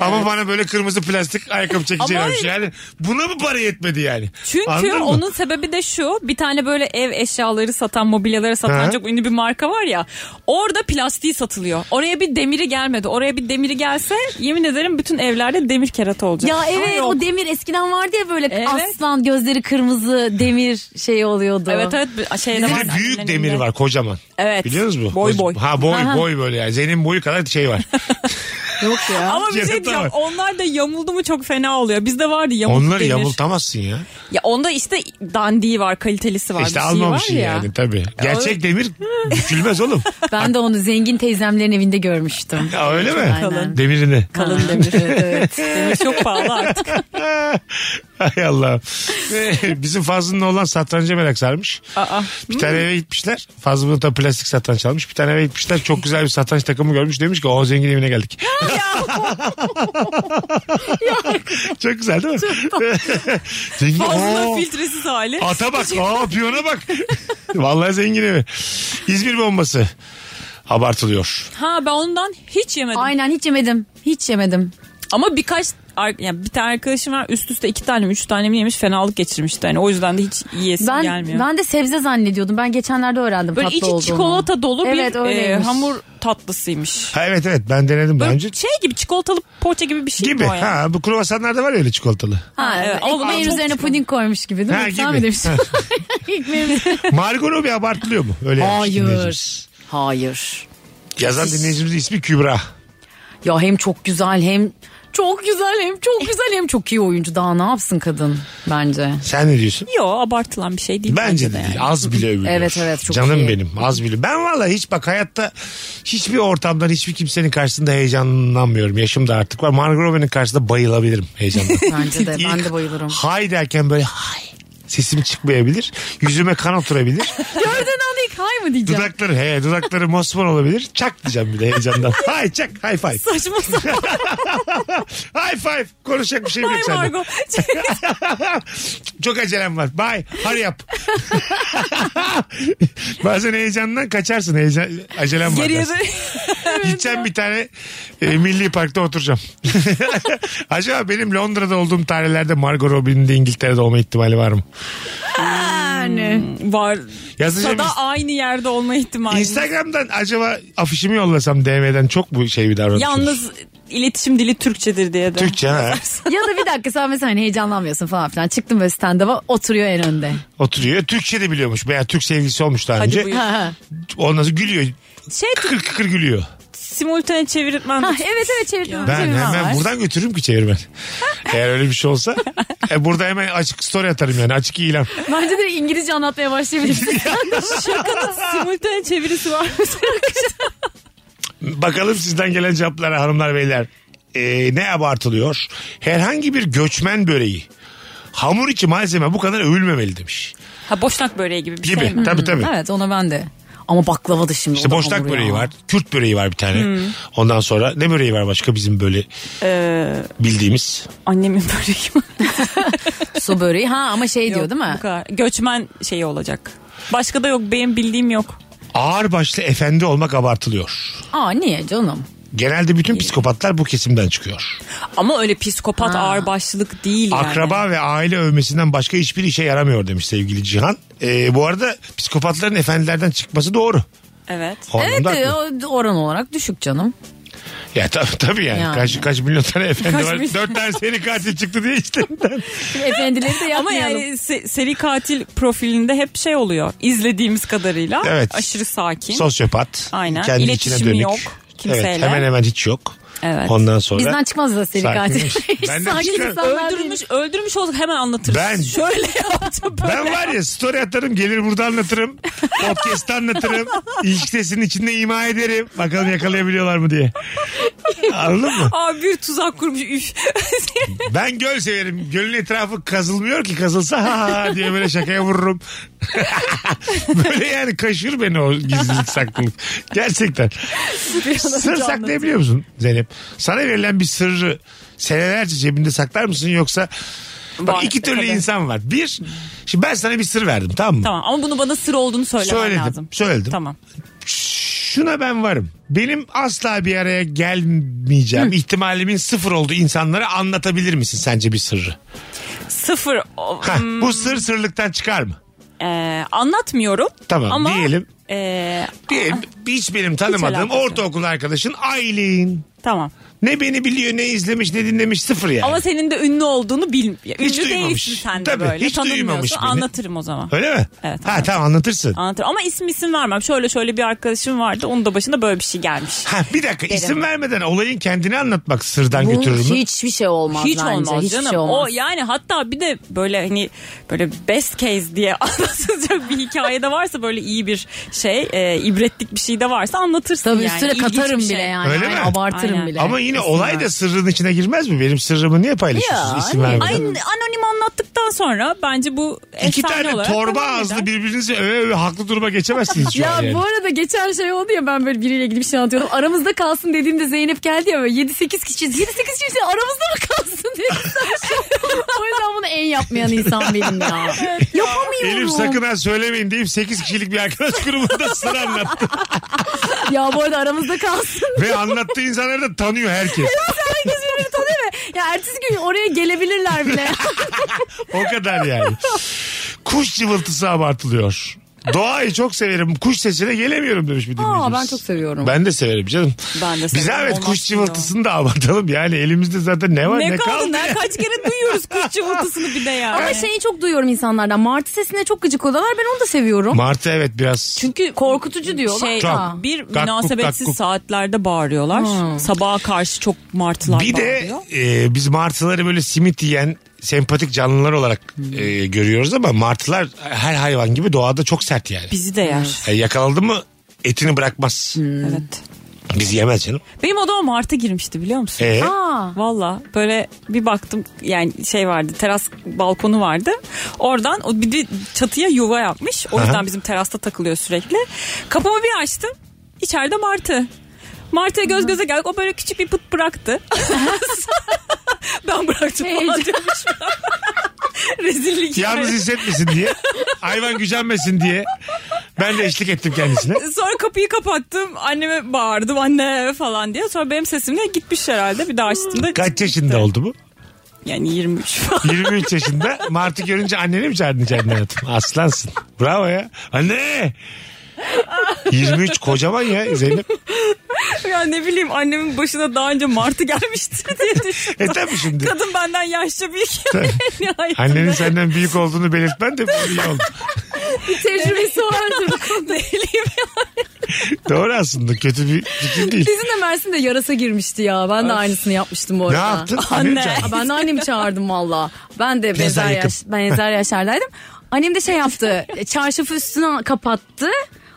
Ama bana böyle kırmızı plastik ayakkabı çekeceği
Ama-
varmış. Yani buna mı para yetmedi yani?
Çünkü
Anladın mı?
onun sebebi de şu bir tane böyle ev eşyaları satan mobilyaları satan
Ha.
çok ünlü bir marka var ya orada plastiği satılıyor. Oraya bir demiri gelmedi oraya bir demiri gelse yemin ederim bütün evlerde demir kerata olacak.
Ya
Ama
evet
yok.
o demir eskiden vardı ya böyle
Evet.
aslan gözleri kırmızı demir şey oluyordu.
Evet evet bir- şey şeyde
Bir
var.
de büyük
annenin
demir
evinde.
var kocaman.
Evet.
Biliyor musunuz bu?
Boy boy.
Ha boy boy böyle yani. Zeynep boyu kadar şey var.
Yok ya.
Ama bir şey
Yarata
diyeceğim.
bak.
Onlar da yamuldu mu çok fena oluyor. Bizde vardı yamuldu
Onları
denir.
yamultamazsın ya.
Ya onda işte dandiği var, kalitelisi var.
işte
bir şey var
almamışsın
ya.
yani tabii. Gerçek demir bükülmez oğlum.
Ben de onu zengin teyzemlerin evinde görmüştüm.
Ya öyle mi?
Aynen.
Demirini.
Kalın
Ha,
demir.
evet.
Demir çok pahalı artık.
Hay Allah. Bizim Fazlı'nın olan satranca merak sarmış.
Aa.
Bir tane eve gitmişler. Fazlı'nın da plastik satranç almış. Bir tane eve gitmişler. Çok güzel bir satranç takımı görmüş. Demiş ki o zengin evine geldik. Çok güzel değil mi? Zengin- Oo.
Fazla filtresiz hali.
Ata bak. Aa piyona bak. Vallahi zengin evi. İzmir bombası. Abartılıyor.
Ha ben ondan hiç yemedim.
Aynen hiç yemedim. Hiç yemedim.
Ama birkaç ar- yani bir tane arkadaşım var üst üste iki tane mi üç tane mi yemiş fenalık geçirmişti. Yani o yüzden de hiç yiyesi
Ben
gelmiyor.
ben de sebze zannediyordum. Ben geçenlerde öğrendim
Böyle
tatlı
içi
olduğunu.
çikolata dolu
Evet,
bir e,
öyleymiş.
hamur tatlısıymış.
Ha, evet evet ben denedim daha
Böyle
önce.
şey gibi çikolatalı poğaça gibi bir şey
Gibi.
mi o yani?
Ha, bu kruvasanlarda var ya öyle çikolatalı.
Ha, evet.
Ama bunlar
Ekmeğin
çok
üzerine
çikolata.
puding koymuş gibi değil mi?
Ha,
Sen
gibi.
mi demiştin? Ekmeğin
Margot Robbie abartılıyor mu? Öyle yazmış dinleyicimiz.
Hayır. Hayır.
Yazan dinleyicimizin ismi Kübra.
Ya hem çok güzel hem Eh. çok güzel hem çok güzel hem çok iyi oyuncu. Daha ne yapsın kadın bence.
Sen ne diyorsun?
Yo abartılan bir şey değil.
Bence de değil. Az bile övülüyor.
Evet, evet, çok
Canım
iyi.
benim az bile. Ben valla hiç bak hayatta hiçbir ortamdan hiçbir kimsenin karşısında heyecanlanmıyorum. Yaşım da artık var. Margot Robbie'nin karşısında bayılabilirim heyecandan.
Bence de. ben
İlk
de bayılırım.
Hay derken böyle hay. Sesim çıkmayabilir. Yüzüme kan oturabilir.
Gördüğün anda ilk hay mı diyeceğim?
dudakları he dudakları mosmor olabilir. Çak diyeceğim bir de heyecandan. hay çak high five.
Saçma sapan
High five. Konuşacak bir şeyim yok sende.
Margo.
Çok acelem var. Bye. Hurry up. Bazen heyecandan kaçarsın. Heyecan, acelem var.
Geriye
dersin.
böyle.
Gideceğim bir tane e, milli parkta oturacağım. Acaba benim Londra'da olduğum tarihlerde Margot Robbie'nin de İngiltere'de olma ihtimali var mı?
Hani.
Var.
Yazacağım
Sada
is-
aynı yerde olma ihtimali.
Instagram'dan acaba afişimi yollasam DM'den çok bu şey bir davranış.
Yalnız iletişim dili Türkçedir diye de.
Türkçe ha.
Hmm. ya da bir dakika sen mesela hani heyecanlanmıyorsun falan filan. Çıktın böyle stand-up'a oturuyor en önde.
Oturuyor. Türkçe de biliyormuş. Veya Türk sevgilisi olmuş daha
Hadi
önce.
buyur.
Ha, ha.
Ondan sonra gülüyor.
Şey
Kıkır kıkır gülüyor.
simultane çevirtmen.
Ha, evet evet çevirdim.
Ben hemen buradan götürürüm ki çevirmen. Eğer öyle bir şey olsa. e, burada hemen açık story atarım yani. Açık ilan.
Bence de İngilizce anlatmaya başlayabilirsin.
Şakanın simultane çevirisi var.
Bakalım sizden gelen cevaplara hanımlar beyler. Ee, ne abartılıyor? Herhangi bir göçmen böreği. Hamur içi malzeme bu kadar övülmemeli demiş.
ha boşnak böreği gibi bir
Gibi.
şey mi?
tabii tabii.
evet ona ben de. Ama baklava da şimdi.
İşte
o da
boşnak
hamur ya. Hmm.
böreği var. Kürt böreği var bir tane. Ondan sonra ne böreği var başka bizim böyle bildiğimiz?
Ee, Annemin böreği mi?
Su böreği ha ama şey diyor
Yok,
değil mi?
bu kadar. Göçmen şeyi olacak. Başka da yok benim bildiğim yok.
Ağır başlı efendi olmak abartılıyor.
Aa niye canım?
Genelde bütün psikopatlar bu kesimden çıkıyor.
Ama öyle psikopat ağırbaşlılık değil yani.
Akraba ve aile övmesinden başka hiçbir işe yaramıyor demiş sevgili Cihan. Ee, bu arada psikopatların efendilerden çıkması doğru.
Evet.
O
Evet
anlamda haklı.
o- oran olarak düşük canım.
Ya tabii tabii yani.
Yani.
Kaç, kaç milyon tane efendi
Kaç
var.
milyon.
Dört tane seri katil çıktı diye işte.
Efendileri de
Ama
yapmayalım.
yani se- seri katil profilinde hep şey oluyor. İzlediğimiz kadarıyla
Evet.
aşırı sakin.
Sosyopat.
Aynen.
Kendi içine
İletişimi
dönük.
yok kimseyle.
Evet, hemen hemen hiç yok.
Evet.
Ondan sonra.
Bizden çıkmaz da seri katil.
Sakinmiş. Ben de
Sakin
çıkarım.
insanlar değiliz.
şey öldürmüş öldürmüş olduk hemen anlatırız.
Ben-
Şöyle yaptım böyle.
Ben var ya story atarım gelir burada anlatırım. Podcast'ta anlatırım. İlişkisinin içinde ima ederim. Bakalım yakalayabiliyorlar mı diye. Anladın mı?
Aa bir tuzak kurmuş üf.
Ben göl severim. Gölün etrafı kazılmıyor ki kazılsa ha ha diye böyle şakaya vururum. böyle yani kaşır beni o gizlilik saklılık. Gerçekten. Sır
şey
saklayabiliyor musun Zeynep? Sana verilen bir sırrı senelerce cebinde saklar mısın yoksa Bak
Var,
iki türlü
tabii.
insan var. Bir, şimdi ben sana bir sır verdim tamam mı?
tamam ama bunu bana sır olduğunu söylemen
Söyledim,
lazım.
söyledim.
Tamam.
Şuna ben varım. Benim asla bir araya gelmeyeceğim ihtimalimin sıfır olduğu insanlara anlatabilir misin sence bir sırrı?
Sıfır. o-
Heh,
hmm,
bu sır sırlıktan çıkar mı?
e, anlatmıyorum.
Tamam,
ama,
diyelim.
e,
Bir, hiç benim tanımadığım
alakası yok.
ortaokul arkadaşın Aylin.
tamam.
Ne beni biliyor ne izlemiş ne dinlemiş sıfır yani.
Ama senin de ünlü olduğunu bil. ya, Ünlü
Hiç duymamış.
değilsin sen de
Tabii,
böyle.
hiç duymamış
Tanınmıyorsun.
beni.
Anlatırım o zaman.
Öyle mi?
Evet,
Ha tamam anlatırsın.
Anlatırım. Ama isim isim vermem. Şöyle şöyle bir arkadaşım vardı. Onun da başına böyle bir şey gelmiş.
Ha, bir dakika isim vermeden olayın kendini anlatmak sırdan
Bu
götürür mü?
hiçbir şey olmaz
Hiç
bence.
olmaz
Hiçbir
canım.
şey olmaz.
O yani hatta bir de böyle hani böyle best case diye anlatılacak bir hikaye de varsa böyle iyi bir şey, e, ibretlik bir şey de varsa anlatırsın
Tabii
yani.
üstüne
İlginç
katarım
bir
bile
şey.
yani.
Öyle
Aynen,
mi?
Abartırım
Aynen.
bile.
Ama yine olay da sırrın içine girmez mi? Benim sırrımı niye paylaşıyorsun isim vermeden?
Aynı anonim anlattıktan sonra bence bu
İki
efsane
tane
olarak
torba
devam
ağızlı
eder.
birbirinizi öve öve haklı duruma geçemezsiniz şu
Ya
an yani.
bu arada geçen şey oldu ya ben böyle biriyle ilgili bir şey anlatıyordum. Aramızda kalsın dediğimde Zeynep geldi ya böyle 7-8 kişiyiz. 7-8 kişi aramızda mı kalsın diye. o yüzden bunu en yapmayan insan benim ya. Yapamıyorum.
Elif sakın ha söylemeyin deyip 8 kişilik bir arkadaş grubunda sır anlattı.
Ya bu arada aramızda kalsın.
Ve anlattığı insanları da tanıyor herkes.
Herkes birbirini tanıyor ve ya ertesi gün oraya gelebilirler bile.
O kadar yani. Kuş cıvıltısı abartılıyor. Doğayı çok severim. Kuş sesine gelemiyorum demiş bir dinleyicimiz.
Aa, ben çok seviyorum.
Ben de severim canım.
Ben de
Bir
severim.
zahmet
Olmaz
kuş
ki
cıvıltısını da abartalım. Yani elimizde zaten ne var ne,
Ne kaldı?
kaldı.
Ne kaç kere duyuyoruz kuş cıvıltısını bir de yani.
Ama şeyi çok duyuyorum insanlardan. Martı sesine çok gıcık oluyorlar. Ben onu da seviyorum.
Martı evet biraz.
Çünkü korkutucu diyorlar.
şey
Çok.
Aa, bir
Gakkuk,
münasebetsiz
gakkuk.
saatlerde bağırıyorlar. Sabaha karşı çok martılar
Bir de
bağırıyor.
e, biz martıları böyle simit yiyen sempatik canlılar olarak e, görüyoruz ama martılar her hayvan gibi doğada çok sert yani.
bizi de yer.
E, yakalandı mı etini bırakmaz.
Hmm.
Hmm.
Evet.
Biz yemez canım.
Benim odama martı girmişti biliyor musun?
E,
Aa,
Valla böyle bir baktım yani şey vardı teras balkonu vardı. Oradan o bir de çatıya yuva yapmış. O yüzden bizim terasta takılıyor sürekli. Kapımı bir açtım. İçeride martı. Martı'ya göz göze geldik. O böyle küçük bir pıt bıraktı. ben bıraktım falan
Heyecan.
diyormuş. Rezillik. yani.
yalnız hissetmesin diye. Hayvan gücenmesin diye. Ben de eşlik ettim kendisine.
Sonra kapıyı kapattım. Anneme bağırdım anne falan diye. Sonra benim sesimle gitmiş herhalde. Bir daha açtığımda
Kaç yaşında oldu bu?
yani 23 falan.
23 yaşında. Martı görünce anneni mi çağırdın kendine hayatım? Aslansın. Bravo ya. Anne! 23 kocaman ya Zeynep.
ya ne bileyim annemin başına daha önce martı gelmiştir diye
E
düşündüm.
tabii şimdi.
Kadın benden yaşça büyük. Nihayetinde.
Annenin senden büyük olduğunu belirtmen de iyi oldu.
tecrübesi vardır.
Ne bileyim ya.
Doğru aslında kötü bir fikir değil.
Bizim de Mersin'de yarasa girmişti ya. Ben de aynısını yapmıştım bu
Ne
arada.
yaptın?
Anne.
Aa, Ben de annemi çağırdım valla. Ben de
Biraz daha
benzer,
yakın.
yaş, benzer yaşlardaydım. Annem de şey yaptı. çarşafı üstüne kapattı.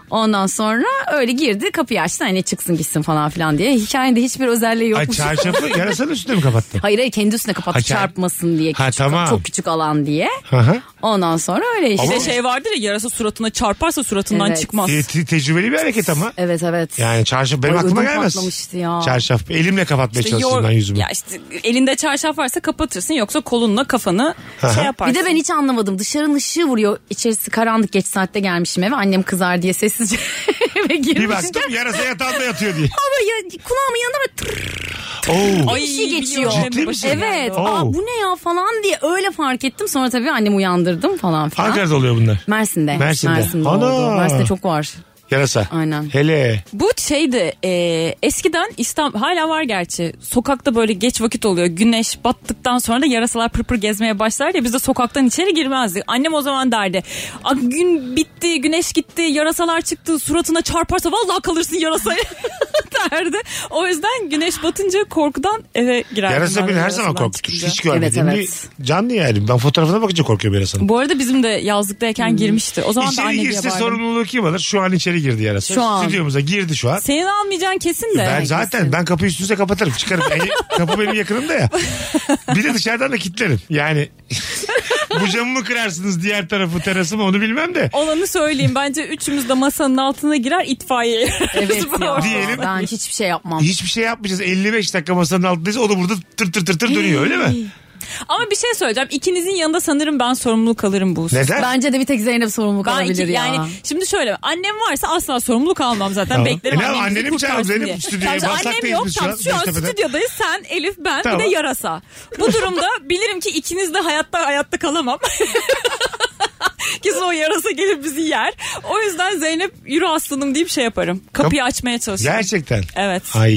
Ondan sonra öyle girdi kapıyı açtı hani çıksın gitsin falan filan diye. Hikayede hiçbir özelliği
Ay
yokmuş.
çarşafı yarasanın üstüne mi kapattın?
Hayır hayır kendi üstüne kapattı
Ha, çar-
çarpmasın diye.
Ha,
Küçük-
tamam.
Çok küçük alan diye.
Hı hı.
Ondan sonra öyle işte.
Bir de şey vardır ya yarasa suratına çarparsa suratından
Evet.
çıkmaz.
E, te- tecrübeli bir hareket ama.
Evet evet.
Yani çarşaf benim
Ay,
aklıma
ödüm
gelmez.
patlamıştı ya.
Çarşaf. Elimle kapatmaya
İşte
çalıştım
yor-
ben yüzümü.
Ya işte elinde çarşaf varsa kapatırsın yoksa kolunla kafanı şey
Bir
yaparsın.
de ben hiç anlamadım. Dışarının ışığı vuruyor. İçerisi karanlık geç saatte gelmişim eve. Annem kızar diye sessizce eve
Bir
girmişim.
baktım yarasa yatağında yatıyor diye.
Ama ya, kulağımın yanında böyle tırr
Oo.
Ay,
bir şey
biliyorum,
geçiyor.
benim
Ciddi
başıma
misin?
geldi
Evet.
o.
Oo.
Aa, bu ne ya falan diye öyle fark ettim. Sonra tabii annemi uyandırdım falan filan.
Ankara'da oluyor bunlar.
Mersin'de.
Mersin'de. Ana.
oldu. Mersin'de çok var.
Yarasa.
Aynen.
Hele.
Bu şeydi e, eskiden İstanbul hala var gerçi sokakta böyle geç vakit oluyor güneş battıktan sonra da yarasalar pırpır gezmeye başlar ya biz de sokaktan içeri girmezdik. Annem o zaman derdi "A, gün bitti güneş gitti yarasalar çıktı suratına çarparsa vallahi kalırsın yarasaya derdi. O yüzden güneş batınca korkudan eve girerdim.
Yarasa
ben de
beni her
yarasadan
zaman korkutur.
çıkınca.
Hiç görmediğim
Evet,
bir canlı yani. Ben fotoğrafına bakınca korkuyorum yarasanın.
Bu arada bizim de yazlıktayken girmişti. O zaman da
İçeri
anne diye
girse
bağırdım.
sorumluluğu kim alır? Şu an içeri girdi yarasa.
Şu an.
Stüdyomuza girdi şu an.
Senin almayacağın kesin de.
Ben zaten ben kapıyı üstünüze kapatırım çıkarım. E, kapı benim yakınımda ya. Bir de dışarıdan da kilitlerim. Yani bu camı mı kırarsınız diğer tarafı terası mı onu bilmem de.
Olanı söyleyeyim. Bence üçümüz de masanın altına girer itfaiye.
Evet ya.
Diyelim.
Ben hiçbir şey yapmam.
Hiçbir şey yapmayacağız. 55 dakika masanın altındayız. O da burada tır tır tır tır dönüyor öyle mi?
Ama bir şey söyleyeceğim. İkinizin yanında sanırım ben sorumluluk alırım bu hususta.
Neden?
Bence de bir tek Zeynep sorumluluk
Ben iki-
alabilir ya.
yani şimdi şöyle annem varsa asla sorumluluk almam zaten
Tamam.
beklerim
E ne
annem
yapalım?
bizi
Anneni mi çağıralım?
kurtarsın
Zeynep
diye.
stüdyoya
Tamam,
basak
annem
değiliz
yok
biz şu
tam
an,
şu an
Göztepe'de.
stüdyodayız sen Elif ben bir
Tamam.
de yarasa bu durumda bilirim ki ikiniz de hayatta hayatta kalamam Kesin o yarasa gelip bizi yer. O yüzden Zeynep yürü aslanım deyip şey yaparım. Kapıyı açmaya çalışırım.
Gerçekten.
Evet.
Ay.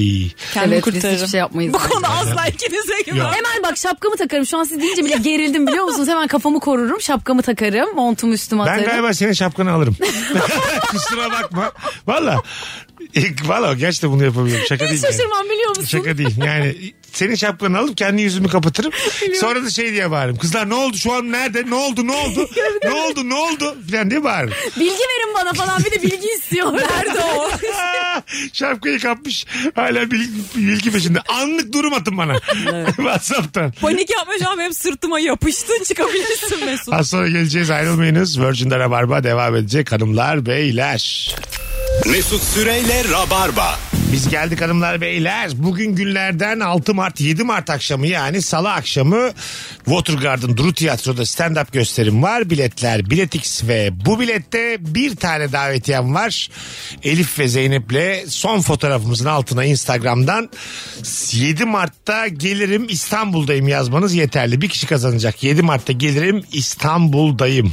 Kendimi
Evet, biz
kurtarırım.
hiçbir şey yapmayız
Bu
yani.
konu asla ikinize güven.
Hemen bak şapkamı takarım. Şu an siz deyince bile gerildim biliyor musunuz? Hemen kafamı korurum. Şapkamı takarım. Montumu üstüme atarım.
Ben galiba senin şapkanı alırım. Kusura bakma. Valla. İlk- Valla gerçekten bunu yapabiliyorum. Şaka
Hiç
değil. yani.
şaşırmam şey biliyor musun?
Şaka değil. Yani senin şapkanı alıp kendi yüzümü kapatırım. Sonra da şey diye bağırırım. Kızlar ne oldu şu an nerede? Ne oldu ne oldu? ne oldu ne oldu? Falan diye bağırırım.
Bilgi verin bana falan bir de bilgi istiyor. Nerede o?
Aa, Şapkayı kapmış. Hala bilgi, bilgi peşinde. Anlık durum atın bana. WhatsApp'tan.
Panik yapma şu an benim sırtıma yapıştın çıkabilirsin Mesut.
Az sonra geleceğiz ayrılmayınız. Virgin'de Rabarba devam edecek hanımlar beyler.
Mesut Süreyle Rabarba.
Biz geldik hanımlar beyler. Bugün günlerden 6 Mart 7 Mart akşamı yani salı akşamı Watergarden Duru Tiyatro'da stand-up gösterim var. Biletler Biletix ve bu bilette bir tane davetiyem var. Elif ve Zeynep'le son fotoğrafımızın altına Instagram'dan 7 Mart'ta gelirim İstanbul'dayım yazmanız yeterli. Bir kişi kazanacak. 7 Mart'ta gelirim İstanbul'dayım.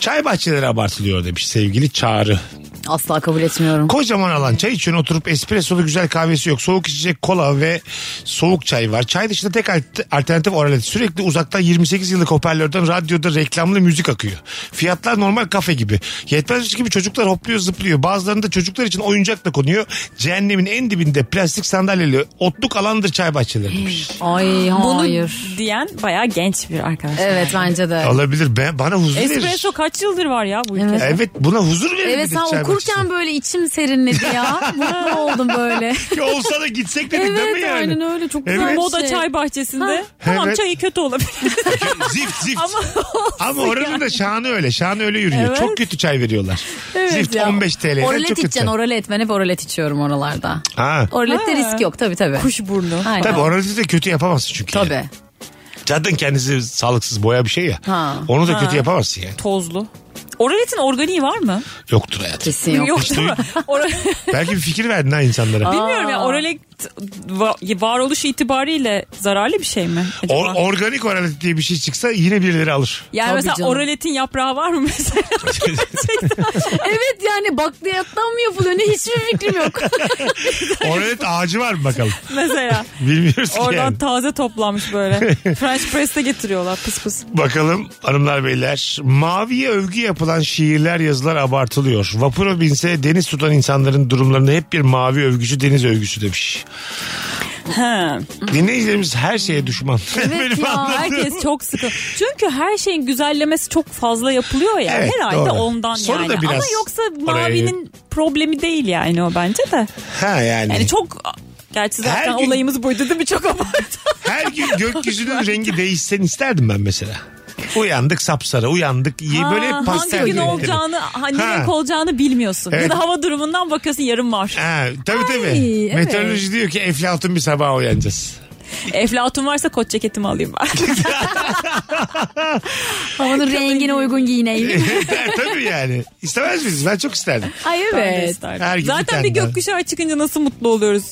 Çay bahçeleri abartılıyor demiş sevgili Çağrı.
Asla kabul etmiyorum.
Kocaman alan çay içiyorsun oturup espressolu güzel kahvesi yok. Soğuk içecek kola ve soğuk çay var. Çay dışında tek alt- alternatif oralet. Sürekli uzaktan 28 yıllık hoparlörden radyoda reklamlı müzik akıyor. Fiyatlar normal kafe gibi. Yetmezmiş gibi çocuklar hopluyor zıplıyor. Bazılarında çocuklar için oyuncakla konuyor. Cehennemin en dibinde plastik sandalyeli otluk alandır çay bahçeleri demiş.
Ay
Bunu
hayır.
diyen bayağı genç bir arkadaş.
Evet bence de.
Olabilir ben, bana huzur verir.
Espresso kaç yıldır var ya bu ülkede?
Evet buna huzur verir.
Evet
bir de
sen
çay bahçesi.
okurken böyle içim serinledi ya. Mutlu oldum böyle.
Ki olsa da gitsek dedik değil mi
evet
yani?
aynen öyle. Çok
Evet.
güzel
Moda
şey.
çay bahçesinde. Tamam
Evet.
çayı kötü olabilir.
Zift zift.
Ama
Ama oranın da şanı öyle. Şanı öyle yürüyor.
Evet.
Çok kötü çay veriyorlar. Zift
ya.
15 TL. 'den
Oralet
çok kötü.
içeceksin oralet. Ben hep oralet içiyorum oralarda.
Ha.
Oralette
Ha.
risk yok tabii tabii.
kuşburnu.
Aynen.
Tabii oraleti de kötü yapamazsın çünkü. Yani.
Tabii.
Zaten kendisi sağlıksız boya bir şey ya.
Ha.
Onu da kötü yapamazsın yani.
Tozlu. Oraletin organiği var mı?
Yoktur hayatım.
Kesin yok.
değil mi? Ora-
Belki bir fikir verdin ha insanlara.
Bilmiyorum ya oralet va- varoluş itibariyle zararlı bir şey mi? acaba?
Or- organik oralet diye bir şey çıksa yine birileri alır.
yani
Tabii
mesela
canım.
oraletin yaprağı var mı mesela?
evet yani bakliyattan mı yapılıyor ne hiçbir fikrim yok.
Oralet ağacı var mı bakalım?
mesela.
Bilmiyoruz ki
Oradan
yani.
taze toplanmış böyle. French press'te getiriyorlar pıs pıs.
Bakalım hanımlar beyler. Maviye övgü yapılan şiirler yazılar abartılıyor. Vapura binse deniz tutan insanların durumlarında hep bir mavi övgüsü deniz övgüsü demiş.
Ha.
Dinleyicilerimiz her şeye düşman.
Evet
Benim
ya
anladığım.
herkes çok sıkı. Çünkü her şeyin güzellemesi çok fazla yapılıyor ya.
Evet,
herhalde
doğru.
ondan
Soru
yani.
da biraz
Ama yoksa
oraya-
mavinin problemi değil yani o bence de.
Ha yani.
Yani çok Gerçi zaten
Hmm. Her gün-
olayımız buydu değil mi? Çok abartı.
Her gün gökyüzünün rengi değişsen isterdim ben mesela. Uyandık sapsarı uyandık. iyi
Ha,
Ee, böyle hep pastel
hangi gün
renkleri.
olacağını, hangi
Ha.
renk olacağını bilmiyorsun.
Evet.
Ya da hava durumundan bakıyorsun yarın var.
Ha, tabii tabii. Meteoroloji diyor ki eflatun bir sabah uyanacağız.
Eflatun varsa kot ceketimi alayım ben.
Havanın rengine uygun giyineyim.
tabii yani. İstemez miyiz? Ben çok isterdim.
Ay
Ben de
evet.
isterdim.
Her gün bir
Zaten
tane
bir
daha.
gökkuşağı çıkınca nasıl mutlu oluyoruz,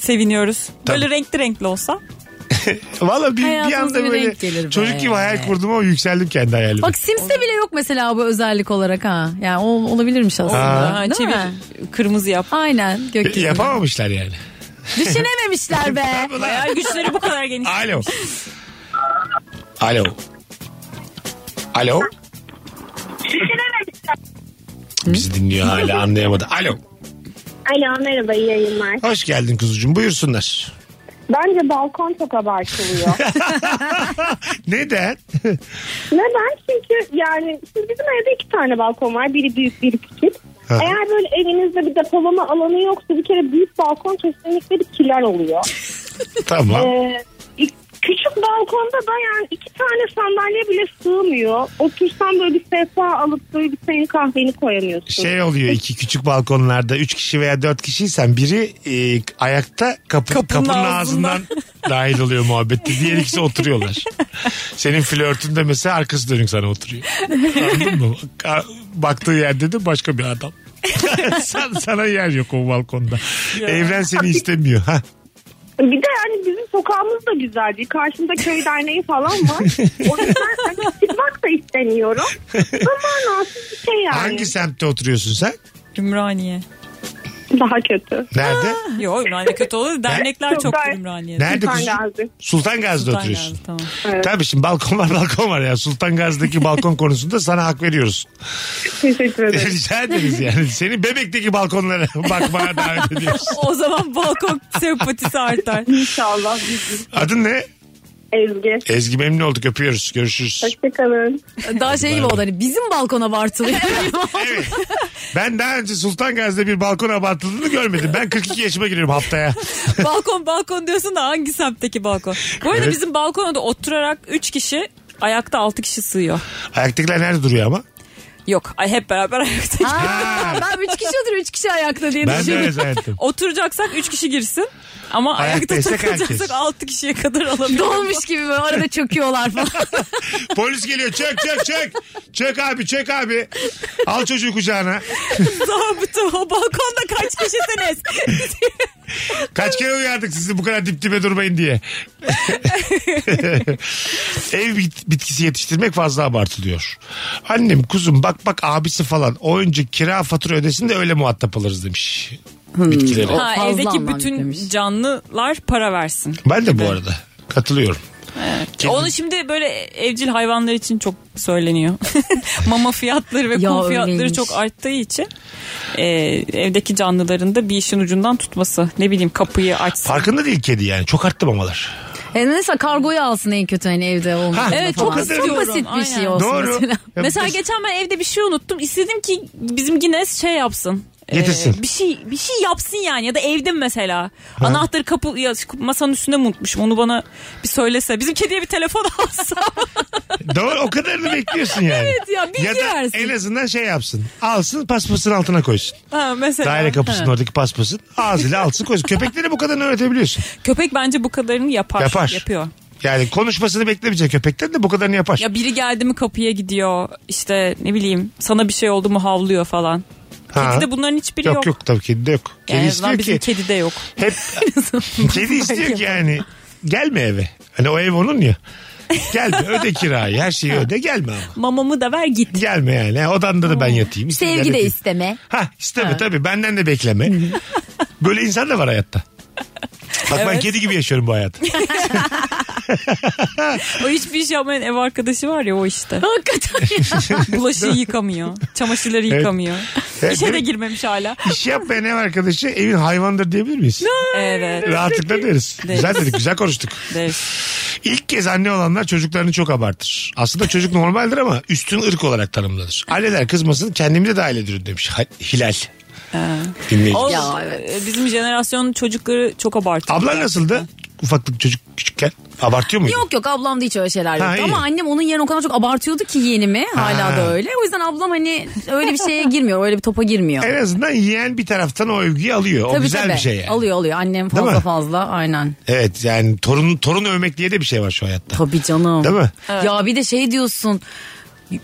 seviniyoruz. Böyle renkli renkli olsa.
Valla bir, bir
Hayatımıza
anda
bir
böyle
renk gelir be.
çocuk gibi hayal kurdum ama yükseldim kendi hayalime.
Bak Sims'te bile yok mesela bu özellik olarak ha. Yani o olabilirmiş aslında.
Ha,
Değil
çevir,
mi?
kırmızı yap.
Aynen
E,
gökyüzü.
Yapamamışlar yani.
Düşünememişler be.
Ulan.
Hayal güçleri bu kadar geniş.
Alo. Alo. Alo. Bizi dinliyor hala anlayamadı. Alo.
Alo merhaba iyi yayınlar.
Hoş geldin kuzucuğum buyursunlar.
Bence balkon çok abartılıyor.
Neden?
Neden? Çünkü yani şimdi bizim evde iki tane balkon var. Biri büyük biri küçük.
Aha.
Eğer böyle evinizde bir depolama alanı yoksa bir kere büyük balkon kesinlikle bir kiler oluyor.
tamam.
Ee, küçük balkonda da yani iki tane sandalye bile sığmıyor. Otursan böyle bir sefa alıp böyle bir senin kahveni koyamıyorsun.
Şey oluyor iki küçük balkonlarda üç kişi veya dört kişiysen biri e, ayakta kapı, kapının,
Kapının
ağzından dahil oluyor muhabbette. Diğer ikisi oturuyorlar. Senin flörtün de mesela arkası dönük sana oturuyor. Anladın mı? Ka- Baktığı yerde de başka bir adam. Sen, sana yer yok o balkonda. Evren seni istemiyor. Ha.
Bir de yani bizim sokağımız da güzel değil. Karşımda köy derneği falan var. O yüzden hani çıkmak da öğreniyorum. Ama nasıl bir şey yani.
Hangi semtte oturuyorsun sen?
Ümraniye.
Daha kötü.
Nerede?
Yok Ümraniye kötü olur. Dernekler
Çok
çok
gayet-
Ümraniye'de.
Nerede
Sultan
kuzum?
Gazi.
Sultan Gazi'de
Sultan
oturuyorsun.
Gazi, Tamam.
Tabii şimdi balkon var balkon var ya. Sultan Gazi'deki balkon konusunda sana hak veriyoruz.
Teşekkür ederim.
Rica ederiz yani. Seni bebekteki balkonlara bakmaya davet ediyoruz.
O zaman balkon sempatisi artar.
İnşallah.
Adın ne?
Ezgi.
Ezgi memnun olduk öpüyoruz. Görüşürüz.
Hoşçakalın.
Daha şey gibi oldu hani bizim balkona abartılıyor.
Evet. Ben daha önce Sultan Gazi'de bir balkon abartıldığını görmedim. Ben 42 yaşıma giriyorum haftaya.
balkon balkon diyorsun da hangi semtteki balkon? Bu arada
Evet.
bizim balkona da oturarak 3 kişi ayakta 6 kişi sığıyor.
Ayaktakiler nerede duruyor ama?
Yok ay hep beraber ayakta.
Aa, ben üç kişi oturuyorum üç kişi ayakta diye
Ben de öyle
düşünüyorum.
zannettim.
Oturacaksak 3 kişi girsin ama ayakta
Ayaktaysak herkes.
takılacaksak 6 kişiye kadar alalım.
Dolmuş gibi böyle arada çöküyorlar falan.
Polis geliyor çök çök çök. Çök abi çök abi. Al çocuğu kucağına.
Zabıta o balkonda kaç kişisiniz?
Kaç kere uyardık sizi bu kadar dip dibe durmayın diye. Ev bit- bitkisi yetiştirmek fazla abartılıyor. Annem kuzum bak bak abisi falan o önce kira fatura ödesin de öyle muhatap alırız demiş.
Hmm.
Bitkileri.
ha,
Fazla
evdeki
anlam
bütün
yüklemiş.
canlılar para versin.
Ben de bu arada katılıyorum. Kedi-
Onu şimdi böyle evcil hayvanlar için çok söyleniyor. Mama fiyatları ve
Ya
kum fiyatları
öyleymiş.
çok arttığı için e, evdeki canlıların da bir işin ucundan tutması. Ne bileyim kapıyı açsın.
Farkında değil kedi yani. Çok arttı mamalar.
E mesela kargoyu alsın en kötü hani evde olmuş.
Ha,
Evet, çok
basit,
istiyorum,
çok basit bir şey
aynen.
olsun
Doğru.
mesela.
Ya
Mesela
biz-
geçen ben evde bir şey unuttum. İstedim ki bizim Guinness şey yapsın. E,
Getirsin.
bir şey bir şey yapsın yani ya da evde mi mesela anahtarı kapı ya, masanın üstünde mi unutmuşum onu bana bir söylese bizim kediye bir telefon alsa
Doğru o kadarını bekliyorsun yani.
Evet ya, bilgi
ya da
versin.
en azından şey yapsın. Alsın paspasın altına koysun.
ha, mesela
Daire kapısının oradaki paspasın. Ağzıyla alsın koysun. Köpeklere bu kadarını öğretebiliyorsun.
köpek bence bu kadarını yapar,
Yapar.
yapıyor
Yani konuşmasını beklemeyecek köpekten de bu kadarını yapar.
Ya biri geldi mi kapıya gidiyor. işte ne bileyim sana bir şey oldu mu havlıyor falan.
Ha.
Kedide bunların hiçbiri yok.
yok yok tabii kedi de yok. Kedi
Yani en azından
istiyor
bizim
ki
kedide yok.
hep kedi istiyor ki yani gelme eve. Hani o ev onun ya. Gelme öde kirayı her şeyi öde gelme ama.
Mamamı da ver git.
Gelme yani. Ha, Odanda da ben yatayım. İstediğin
Sevgi de
yerde-
isteme.
Ha isteme tabii benden de bekleme. Böyle insan da var hayatta. Bak ben kedi gibi yaşıyorum bu hayatı.
O hiçbir şey yapmayan ev arkadaşı var ya o işte.
Hakikaten ya.
Bulaşığı yıkamıyor. Çamaşırları yıkamıyor.
Evet,
İşe de
değil mi?
girmemiş hala.
İş yapmayan ev arkadaşı evin hayvandır diyebilir miyiz?
Evet.
Rahatlıkla deriz.
Deriz.
Güzel dedik güzel konuştuk.
evet.
İlk kez anne olanlar çocuklarını çok abartır. Aslında çocuk normaldir ama üstün ırk olarak tanımlanır. Aileler kızmasın kendimize dahil ediyoruz demiş Ha- Hilal. Dinleyici.
O,
Ya, evet.
e, Bizim jenerasyonun çocukları çok abartıyor.
Ablan nasıldı? Ufaklık çocuk küçükken. Abartıyor muydu?
Yok yok ablam da hiç öyle şeyler
Ha,
yoktu.
iyi.
Ama annem onun yerine o kadar çok abartıyordu ki yeğenimi. Hala
Ha.
da öyle. O yüzden ablam hani öyle bir şeye girmiyor. Öyle bir topa girmiyor.
En azından yiyen bir taraftan o övgüyü alıyor. O
Tabii,
güzel
tabii.
bir şey yani.
Alıyor alıyor. Annem
Değil
fazla
mi?
fazla aynen.
Evet yani torun, torun övmek diye de bir şey var şu hayatta.
Tabii canım.
Değil mi?
Ya bir de şey diyorsun.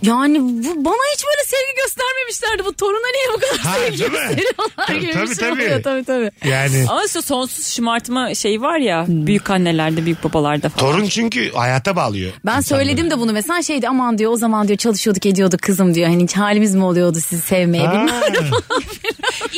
Yani bu, bana hiç böyle sevgi göstermemişlerdi. Bu toruna niye bu kadar
Ha,
sevgi
değil mi?
gösteriyorlar gibi
Tabii,
bir şey
tabii.
oluyor. Tabii tabii.
Yani
Ama işte sonsuz şımartma şey var ya
Hmm.
büyük annelerde büyük babalarda falan.
torun çünkü hayata bağlıyor.
Ben
insanları.
söyledim de bunu mesela şeydi aman diyor o zaman diyor çalışıyorduk ediyorduk kızım diyor. Hani hiç halimiz mi oluyordu sizi sevmeye
Ha.
bilmem.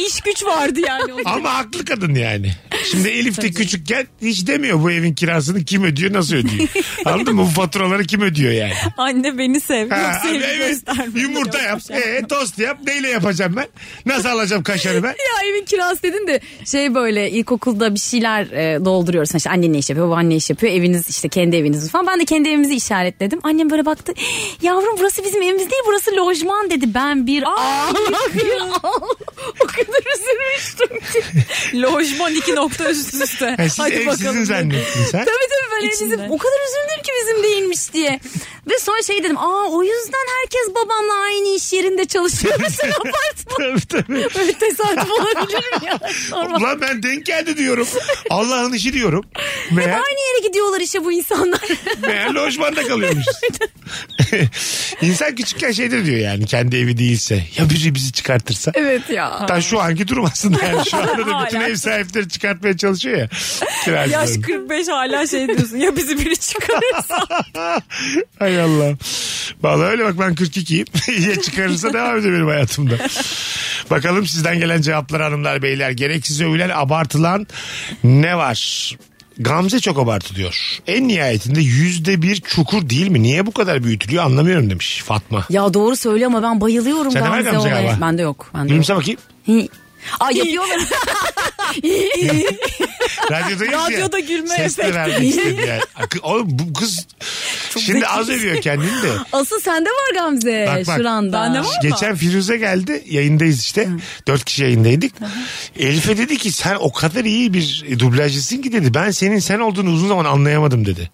İş güç vardı yani. o-
Ama haklı kadın yani. Şimdi Elif de küçükken hiç demiyor bu evin kirasını kim ödüyor nasıl ödüyor. Anladın mı? Bu faturaları kim ödüyor yani.
Anne beni sev. Yok
Ha,
sevgi
evet.
gösterme.
Yumurta
Yok,
yap.
şey yapma.
E, tost yap. Neyle yapacağım ben? Nasıl alacağım kaşarı ben?
ya evin kirası dedin de şey böyle ilkokulda bir şeyler e, dolduruyorsun. İşte annen ne iş yapıyor, baban ne iş yapıyor, eviniz işte kendi eviniz falan. Ben de kendi evimizi işaretledim. Annem böyle baktı. "Eh, Yavrum burası bizim evimiz değil burası lojman dedi. Ben bir ağ. bir ağ. O kadar üzülmüştüm ki.
Lojman iki nokta üst üste.
Ha, siz ev sizin zannettiniz ha?
Tabii tabii ben
İçinde.
bizim- o kadar üzüldüm ki bizim değilmiş diye. Ve sonra şey dedim aa o yüzden herkes babamla aynı iş yerinde çalışıyor. Mesela apartman.
Tabii tabii.
Böyle tesadüf olabilir mi ya? Normal.
Ulan ben denk geldi diyorum. Allah'ın işi diyorum. Meğer,
Aynı yere gidiyorlar işe bu insanlar.
meğer lojmanda kalıyormuşuz. İnsan küçükken şeydir diyor yani kendi evi değilse. Ya biri bizi çıkartırsa.
evet ya.
Hatta şu anki durum aslında yani şu anda da bütün
Hala.
ev sahipleri çıkartmaya çalışıyor ya. Kiracıları.
Yaş 45 hala şey diyorsun ya bizi biri çıkarırsa.
Hay Allah. Vallahi öyle bak ben 42'yim. İyiye çıkarırsa devam ediyor benim hayatımda. Bakalım sizden gelen cevaplar hanımlar beyler. Gereksiz övülen abartılan ne var? Gamze çok abartılıyor. En nihayetinde yüzde bir çukur değil mi? Niye bu kadar büyütülüyor anlamıyorum demiş Fatma.
Ya doğru söyle ama ben bayılıyorum
Sende var
Gamze,
Gamze
olaya.
galiba.
Bende yok. Bende yok.
Gülümse bakayım.
Hi. Ay yapıyorlar.
Radyodayız ya.
Radyoda gülme
Ses de
efekti.
vermek istedim yani. Ak- Oğlum bu kız şimdi az övüyor kendini de.
Asıl sende var Gamze.
Bak, bak.
Şuranda.
Bende var.
Geçen Firuze geldi yayındayız işte. Dört kişi yayındaydık. Elif'e dedi ki sen o kadar iyi bir dublajcısın ki dedi. Ben senin sen olduğunu uzun zaman anlayamadım dedi.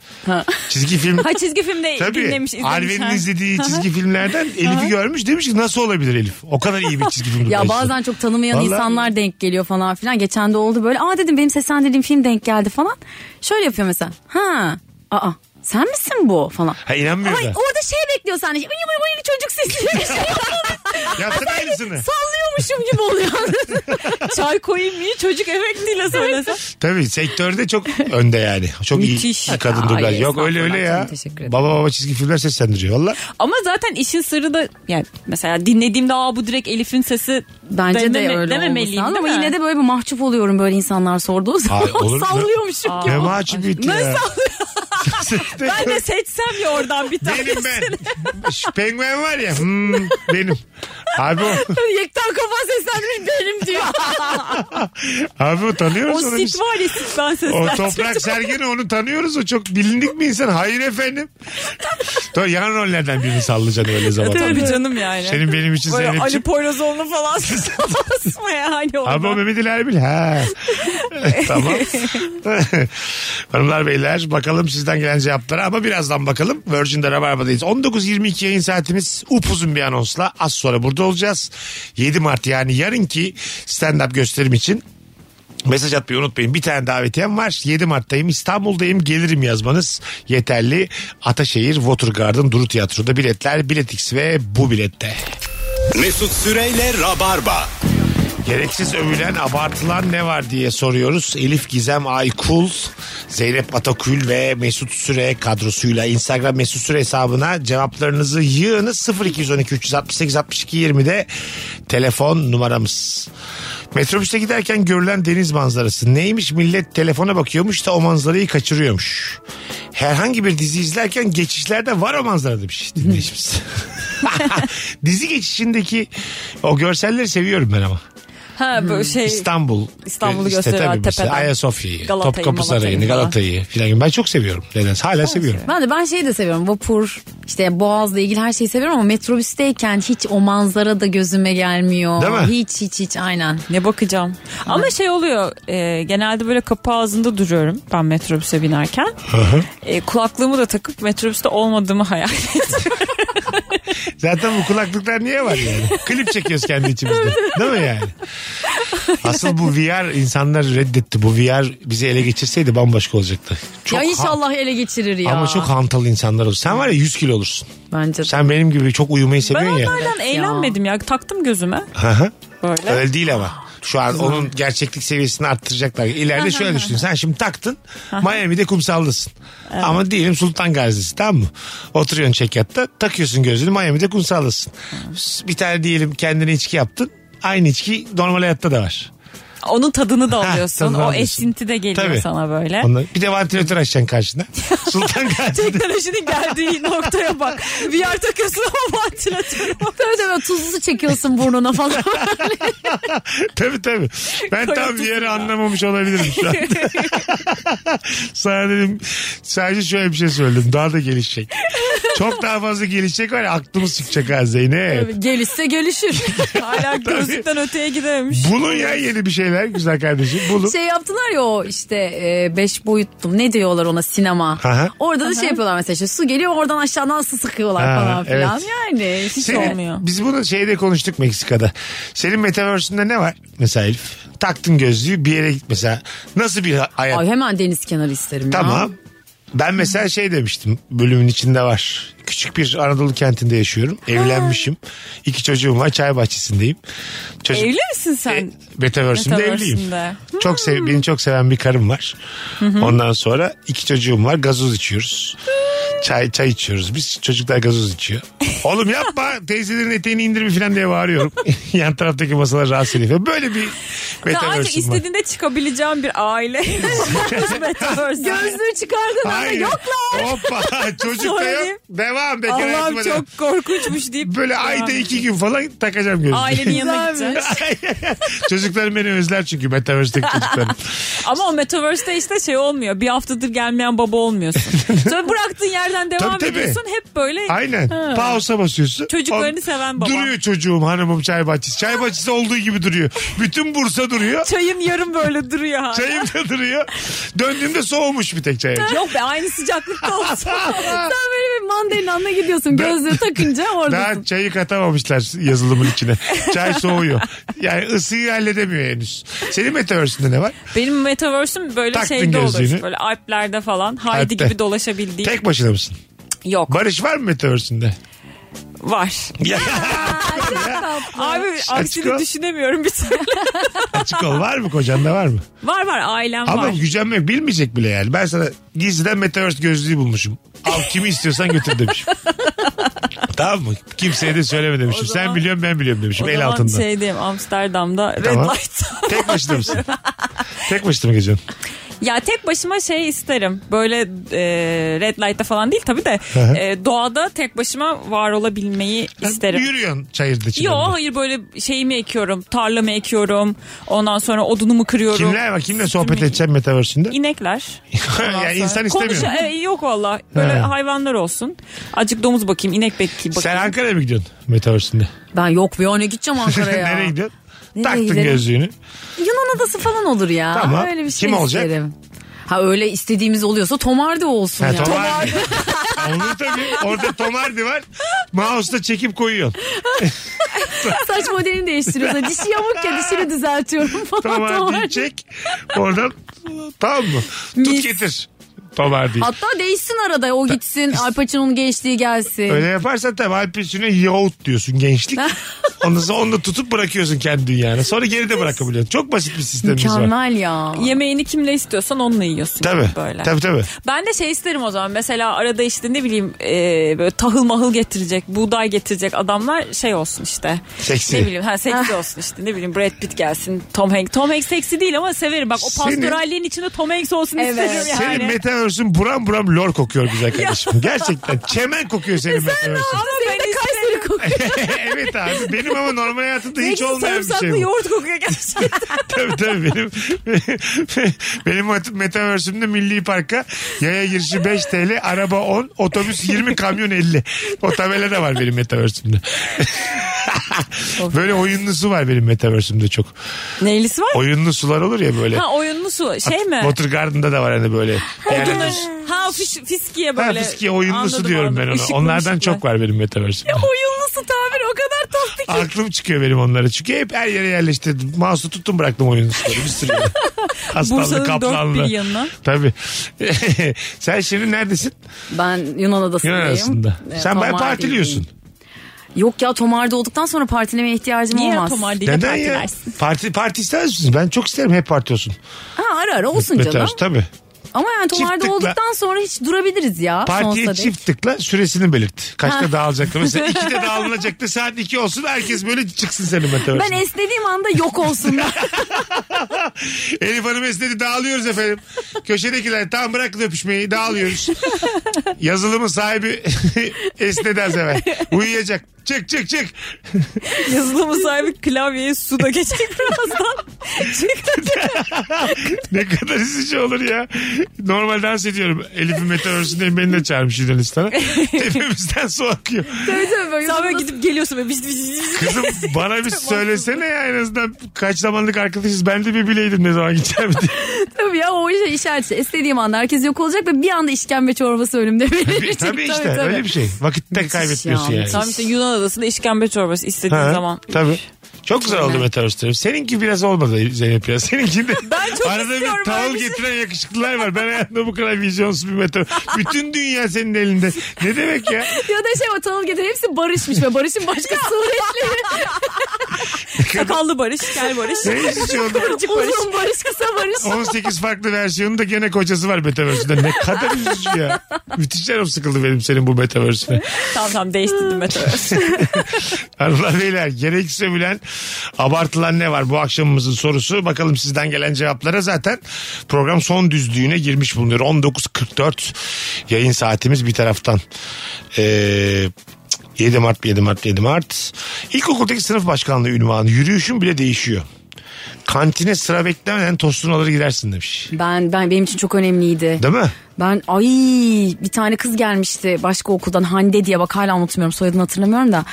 Çizgi film
Ha çizgi filmde
Tabii.
dinlemiş, izlemiş.
Arven'in
ha.
izlediği çizgi filmlerden Elif'i görmüş. Demiş ki nasıl olabilir Elif? O kadar iyi bir çizgi film
Ya
dublajcısı.
bazen çok tanımayan
Vallahi-
insanlar denk geliyor falan filan. Geçen de oldu böyle. Aa dedim benim seslendirdiğim film denk geldi falan. Şöyle yapıyor mesela. Ha. Aa. Sen misin bu falan.
Ha inanmıyor
Ay,
da.
orada şey bekliyor sadece. Uyu uyu uyu çocuk sesi. Şey
Yapsana aynısını.
Sallıyormuşum gibi oluyor.
Çay koyayım mı? Çocuk efektiyle söylesen.
Tabii sektörde çok önde yani. Çok
Müthiş.
iyi bir kadın
Ay,
dublaj. Yok öyle
estağfurullah
öyle
canım,
ya.
teşekkür ederim.
Baba baba çizgi filmler seslendiriyor valla.
Ama zaten işin sırrı da yani mesela dinlediğimde aa bu direkt Elif'in sesi
Bence
dememe-
de öyle olması
dememeliyim,
lazım ama
değil mi?
yine de böyle bir mahcup oluyorum böyle insanlar sorduğu zaman.
Ay, olur mu?
Sallıyormuşum.
Aa.
gibi.
Ne maçı büyüttü ya.
ben de seçsem ya oradan bir tane.
Benim ben. Şu penguen var ya. hmm, benim. Abi o,
Yekten kafa seslendirmiş benim diyor.
abi o
o
tanıyoruz onu
sit
biz.
var ya sit ben
şey- O
seslendim.
toprak sergini onu tanıyoruz. O çok bilindik bir insan. Hayır efendim. Doğru, yan rollerden birini sallayacaksın öyle zaman.
Tabii canım yani.
Senin benim için
Böyle Ali
Zeynep'ciğim.
Poyrazoğlu falan hani basma yani
Abi o
oradan.
Mehmet Ali Erbil. Ha. tamam. Hanımlar beyler bakalım sizden gelen cevaplara ama birazdan bakalım. Virgin'de Rabarba'dayız. 19.22 yayın saatimiz upuzun bir anonsla az sonra burada olacağız. 7 Mart yani yarınki stand-up gösterim için Mesaj atmayı unutmayın. Bir tane davetiyem var. 7 Mart'tayım. İstanbul'dayım. Gelirim yazmanız yeterli. Ataşehir Watergarden Duru Tiyatro'da biletler. Biletix ve bu bilette.
Mesut Süreyle Rabarba.
Gereksiz övülen, abartılan ne var diye soruyoruz. Elif Gizem Aykul, Zeynep Atakül ve Mesut Süre kadrosuyla Instagram Mesut Süre hesabına cevaplarınızı yığınız 0212 368 62 20'de telefon numaramız. Metrobüste giderken görülen deniz manzarası neymiş millet telefona bakıyormuş da o manzarayı kaçırıyormuş. Herhangi bir dizi izlerken geçişlerde var o manzara demiş dinleyicimiz. dizi geçişindeki o görselleri seviyorum ben ama.
Ha böyle şey
İstanbul.
İstanbul'u
işte
gösteriyor
tabii mesela
tepeden.
Ayasofya'yı,
Galata'yı,
Topkapı
Malatya'yı
Sarayı'nı,
falan.
Galata'yı filan. Ben çok seviyorum. Nedense hala seviyorum.
Ben de ben
şey
şeyi de seviyorum. Vapur, işte Boğaz'la ilgili her şeyi seviyorum ama metrobüsteyken hiç o manzara da gözüme gelmiyor.
Değil mi?
Hiç hiç hiç aynen.
Ne bakacağım. Ama şey oluyor e, genelde böyle kapı ağzında duruyorum ben metrobüse binerken. E, kulaklığımı da takıp metrobüste olmadığımı hayal ediyorum.
Zaten bu kulaklıklar niye var yani? Klip çekiyoruz kendi içimizde. Değil mi yani? Asıl bu VR insanlar reddetti. Bu VR bizi ele geçirseydi bambaşka olacaktı. Çok
ya
ha-
inşallah ele geçirir ya.
Ama çok hantal insanlar olur. Sen var ya 100 kilo olursun.
Bence de.
Sen benim gibi çok uyumayı
ben
seviyorsun ya.
onlardan eğlenmedim ya. Taktım gözüme
Hı hı.
böyle.
Öyle değil ama. Şu an onun gerçeklik seviyesini arttıracaklar. İleride şöyle düşün. Sen şimdi taktın Miami'de kumsaldasın. Ama diyelim Sultan Gazi'si tamam mı? Oturuyorsun çekyatta takıyorsun gözünü Miami'de kumsaldasın. Bir tane diyelim kendine içki yaptın. Aynı içki normal hayatta da var.
Onun tadını da
Ha,
alıyorsun.
tadını
o
alıyorsun.
esinti de geliyor
Tabii.
sana böyle.
Ondan- bir de vantilatör açacaksın karşına. Sultan Gazi'de.
Teknolojinin geldiği noktaya bak. VR takıyorsun ama vantilatörü var.
Tabii tabii tuzlu su çekiyorsun burnuna falan.
tabii tabii. Ben tam
Koyuyorsun
bir yeri anlamamış olabilirim şu an. Sana dedim sadece şöyle bir şey söyledim. Daha da gelişecek. Çok daha fazla gelişecek var ya aklımı sıkacak ha Zeynep.
Gelişse gelişir.
Hala gözlükten öteye gidememiş.
Bulun ya yeni bir şeyler güzel kardeşim bulun.
şey yaptılar ya o işte e, beş boyutlu ne diyorlar ona sinema.
Aha.
Orada da şey yapıyorlar mesela işte su geliyor oradan aşağıdan su sıkıyorlar
Ha,
falan filan.
evet. Şey,
Yani hiç
Senin-
olmuyor.
Biz bunu şeyde konuştuk Meksika'da. Senin metaverse'ünde ne var? Mesela Elif taktın gözlüğü bir yere git mesela. Nasıl bir hayat?
Ay hemen deniz kenarı isterim ya.
Tamam. Ben mesela şey demiştim bölümün içinde var. Küçük bir Anadolu kentinde yaşıyorum. Evlenmişim. İki çocuğum var çay bahçesindeyim. Çocuk,
Evli misin sen?
E, Metaverse'ünde
Metaverse'ünde. Hmm.
evliyim. Çok sev, beni çok seven bir karım var. Ondan sonra iki çocuğum var gazoz içiyoruz. Çay çay içiyoruz. Biz çocuklar gazoz içiyor. Oğlum yapma teyzelerin eteğini indirin falan diye bağırıyorum. Yan taraftaki masalar rahatsız ediyor. Böyle bir
Ya ancak
metaverse'im var.
istediğinde çıkabileceğim bir aile. Gözlü
Gözlüğü çıkardın ama
Hayır.
yok lan.
Hoppa çocuk da yok.
Söyleyeyim.
Devam bekar hayatıma
Allah'ım
devam.
çok korkunçmuş deyip.
Böyle
devam
ayda
ediyor.
iki gün falan takacağım gözlüğü.
Ailenin yanına gideceğiz.
Çocuklar beni özler çünkü metaverse'deki çocuklarım.
Ama o Metaverse'de işte şey olmuyor. Bir haftadır gelmeyen baba olmuyorsun. Sonra bıraktığın yerden devam
Tabii, tabii.
ediyorsun. Hep böyle
Aynen. Pausa basıyorsun.
Çocuklarını
O-
seven baba.
Duruyor çocuğum hanımım çay bahçesi. Çay bahçesi olduğu gibi duruyor. Bütün Bursa duruyor.
çayım yarım böyle duruyor. hala.
Çayım da duruyor. Döndüğümde soğumuş bir tek çay.
Yok be aynı sıcaklıkta olsun.
Sen böyle bir mandalinanla gidiyorsun gözlüğü takınca
Daha
oradasın.
çayı katamamışlar yazılımın içine. Çay soğuyor. Yani ısıyı halledemiyor henüz. Senin metaverse'ünde ne var?
Benim Metaverse'üm böyle
Taktın
şeyde
gözlüğünü.
olur. Böyle Alplerde falan. Haydi
Alp'te.
gibi dolaşabildiğim.
Tek başına mısın?
Yok
Barış var mı metaverse'ünde?
var.
Ya,
Abi
Şaşkın.
aksini düşünemiyorum bir türlü.
açık ol. Var mı kocanda var mı?
var var ailem
Ama
var.
gücenmek bilmeyecek bile yani. Ben sana gizliden metaverse gözlüğü bulmuşum. Al kimi istiyorsan götür demişim. tamam mı? Kimseye de söyleme demişim.
zaman-
Sen biliyorsun ben biliyorum demişim.
O
el
zaman şey-
altında.
şeydeyim Amsterdam'da
Tamam.
Red Light'ta.
Tek başına mısın? Tek başına mı geziyorsun?
Ya tek başıma şey isterim. Böyle e, red light'ta falan değil tabii de
hı.
e, doğada tek başıma var olabilmeyi isterim.
Yürüyorsun çayırda içinde.
Yo hayır böyle şeyimi ekiyorum. Tarlamı ekiyorum. Ondan sonra odunumu kırıyorum.
Kimler var? Kimle sohbet
Üstümü-
edeceğim metaverse'ünde?
İnekler. Ondan
ya
sonra-
insan istemiyor.
Konuşa- e, yok valla. Böyle
He.
hayvanlar olsun. Acık domuz bakayım, inek bakayım.
Sen Ankara'ya mı gidiyorsun metaverse'ünde?
Ben yok bir ona gideceğim Ankara'ya.
Nereye gidiyorsun?
Nereye
Taktın
giderim?
gözlüğünü.
Yunan adası falan olur ya.
Tamam.
Öyle bir şey
Kim olacak?
isterim. Ha öyle istediğimiz oluyorsa Tomar da olsun
Ha,
ya.
Tomardi. Olur tabii. Orada Tomardi var. Mouse'la çekip koyuyorsun.
Saç modelini değiştiriyorsa dişi yamuk ya dişini düzeltiyorum falan.
Tomardi'yi
Tomardi.
çek. Oradan tamam mı? Tut
Mis.
getir. Tomardi'yi.
Hatta değişsin arada o gitsin. Al Pacino'nun gençliği gelsin.
Öyle yaparsan tabii Alpesine yoğurt diyorsun gençlik. Ondan sonra onu da tutup bırakıyorsun kendi dünyana. Sonra geri de bırakabiliyorsun. Çok basit bir sistemimiz var.
Mükemmel ya.
Yemeğini kimle istiyorsan onunla yiyorsun.
Tabii.
Böyle.
Tabii tabii.
Ben de şey isterim o zaman. Mesela arada işte ne bileyim e, böyle tahıl mahıl getirecek, buğday getirecek adamlar şey olsun işte.
Seksi.
Ne bileyim ha seksi olsun işte. Ne bileyim Brad Pitt gelsin, Tom Hanks. Tom Hanks seksi değil ama severim. Bak o
Senin-
pastoralliğin içinde Tom Hanks olsun
Evet.
isterim yani.
Senin metaverse'ün buram buram lor kokuyor güzel kardeşim. Gerçekten çemen kokuyor senin metaverse'ün.
Ama ben isterim.
evet abi benim ama normal hayatımda hiç
Zeki
olmayan bir şey
sarımsaklı
bu.
yoğurt kokuyor gerçekten.
tabii tabii benim benim metaverse'ümde Milli Park'a yaya girişi 5 TL, araba 10, otobüs 20, kamyon 50. O tabela da var benim metaverse'ümde. böyle oyunlusu var benim metaverse'ümde çok.
Neylisi var?
Oyunlu sular olur ya böyle.
Ha oyunlu su şey mi?
Water Garden'da da var hani böyle. Yani-
Odunun- Ha fiş, fiskiye
Ha,
böyle.
fıskiye oyunlusu
Anladım,
diyorum
anladım.
ben ona.
Işıklı
Onlardan
mışıklı.
çok var benim metaverse'ümde.
Oyunlusu tabiri o kadar tatlı ki.
Aklım çıkıyor benim onlara. Çünkü hep her yere yerleştirdim. Mouse'u tuttum bıraktım oyunun üstüne. Bir sürü yere. Aslanlı,
Bursa'nın dört
kaplanlı.
bir yanına.
Tabii. Sen şimdi neredesin?
Ben Yunan adasındayım.
Yunan arasında.
Evet,
Sen bayağı
Tomardi'yim.
partiliyorsun.
Yok ya Tomar'da olduktan sonra partilemeye ihtiyacım
Niye
olmaz.
Tomar değil
Neden ya? Parti, parti ister misin? Ben çok isterim hep parti olsun.
Ha ara ara olsun
Metaverse,
canım.
Tabii.
Ama yani Tomar'da
Çiftlikle-
olduktan sonra hiç durabiliriz ya.
Partiye
sonsuza dek.
çift tıkla süresini belirt. Kaçta
Ha.
dağılacaktı? Mesela ikide dağılınacaktı. Saat iki olsun herkes böyle çıksın senin metaverse'den.
Ben esnediğim anda yok olsunlar.
Elif Hanım esnedi dağılıyoruz efendim. Köşedekiler tam bırakın öpüşmeyi dağılıyoruz. Yazılımın sahibi esnedi az evvel. Uyuyacak. Çık çık çık.
Yazılımı sahibi klavyeye su da geçecek birazdan.
ne kadar üzücü olur ya. Normal dans ediyorum. Elif'in meteorolojisinden beni de çağırmış Yunanistan'a. Tepemizden su akıyor.
Sen böyle gidip geliyorsun böyle. biz- biz- biz-
Kızım bana bir söylesene ya en azından kaç zamanlık arkadaşız. Ben de bir bileydim ne zaman gideceğim diye.
Tabii ya o işe işaret. İstediğim anda herkes yok olacak ve bir anda işkembe çorbası önümde
Tabii,
verilecek.
işte öyle bir şey. Vakitte kaybetmiyorsun
ya,
yani.
Tamam işte Yunan adasında işkembe çorbası istediğin
Ha,
zaman.
Tabii. Çok güzel oldu meteoristlerim. Seninki biraz olmadı Zeynep ya. Seninkinde
Ben çok
arada bir
istiyorum
tavıl
öyle bir şey.
getiren yakışıklılar var. Ben hayatımda bu kadar vizyonsuz bir meteor. Bütün dünya senin elinde. Ne demek ya?
Ya da şey o tanıl getir hepsi barışmış ve barışın başka suretleri.
Sakallı Barış, kel Barış.
Senin istiyordu.
Kıvırcık Barış. Oh,
Uzun barış kısa barış.
18 farklı versiyonu da gene kocası var Metaverse'de. Ne kadar üzücü ya. Müthiş canım sıkıldı benim senin bu Metaverse'üne.
tamam tamam değiştirdim Metaverse.
Hanımlar beyler gerekirse bilen abartılan ne var bu akşamımızın sorusu. Bakalım sizden gelen cevaplara zaten program son düzlüğüne girmiş bulunuyor. 19.44 yayın saatimiz bir taraftan. Ee, 7 Mart 7 Mart 7 Mart. İlkokuldaki sınıf başkanlığı ünvanı yürüyüşün bile değişiyor. Kantine sıra beklemeden tostunu alır gidersin demiş.
Ben, ben benim için çok önemliydi.
Değil mi?
Ben ay bir tane kız gelmişti başka okuldan Hande diye bak hala unutmuyorum soyadını hatırlamıyorum da.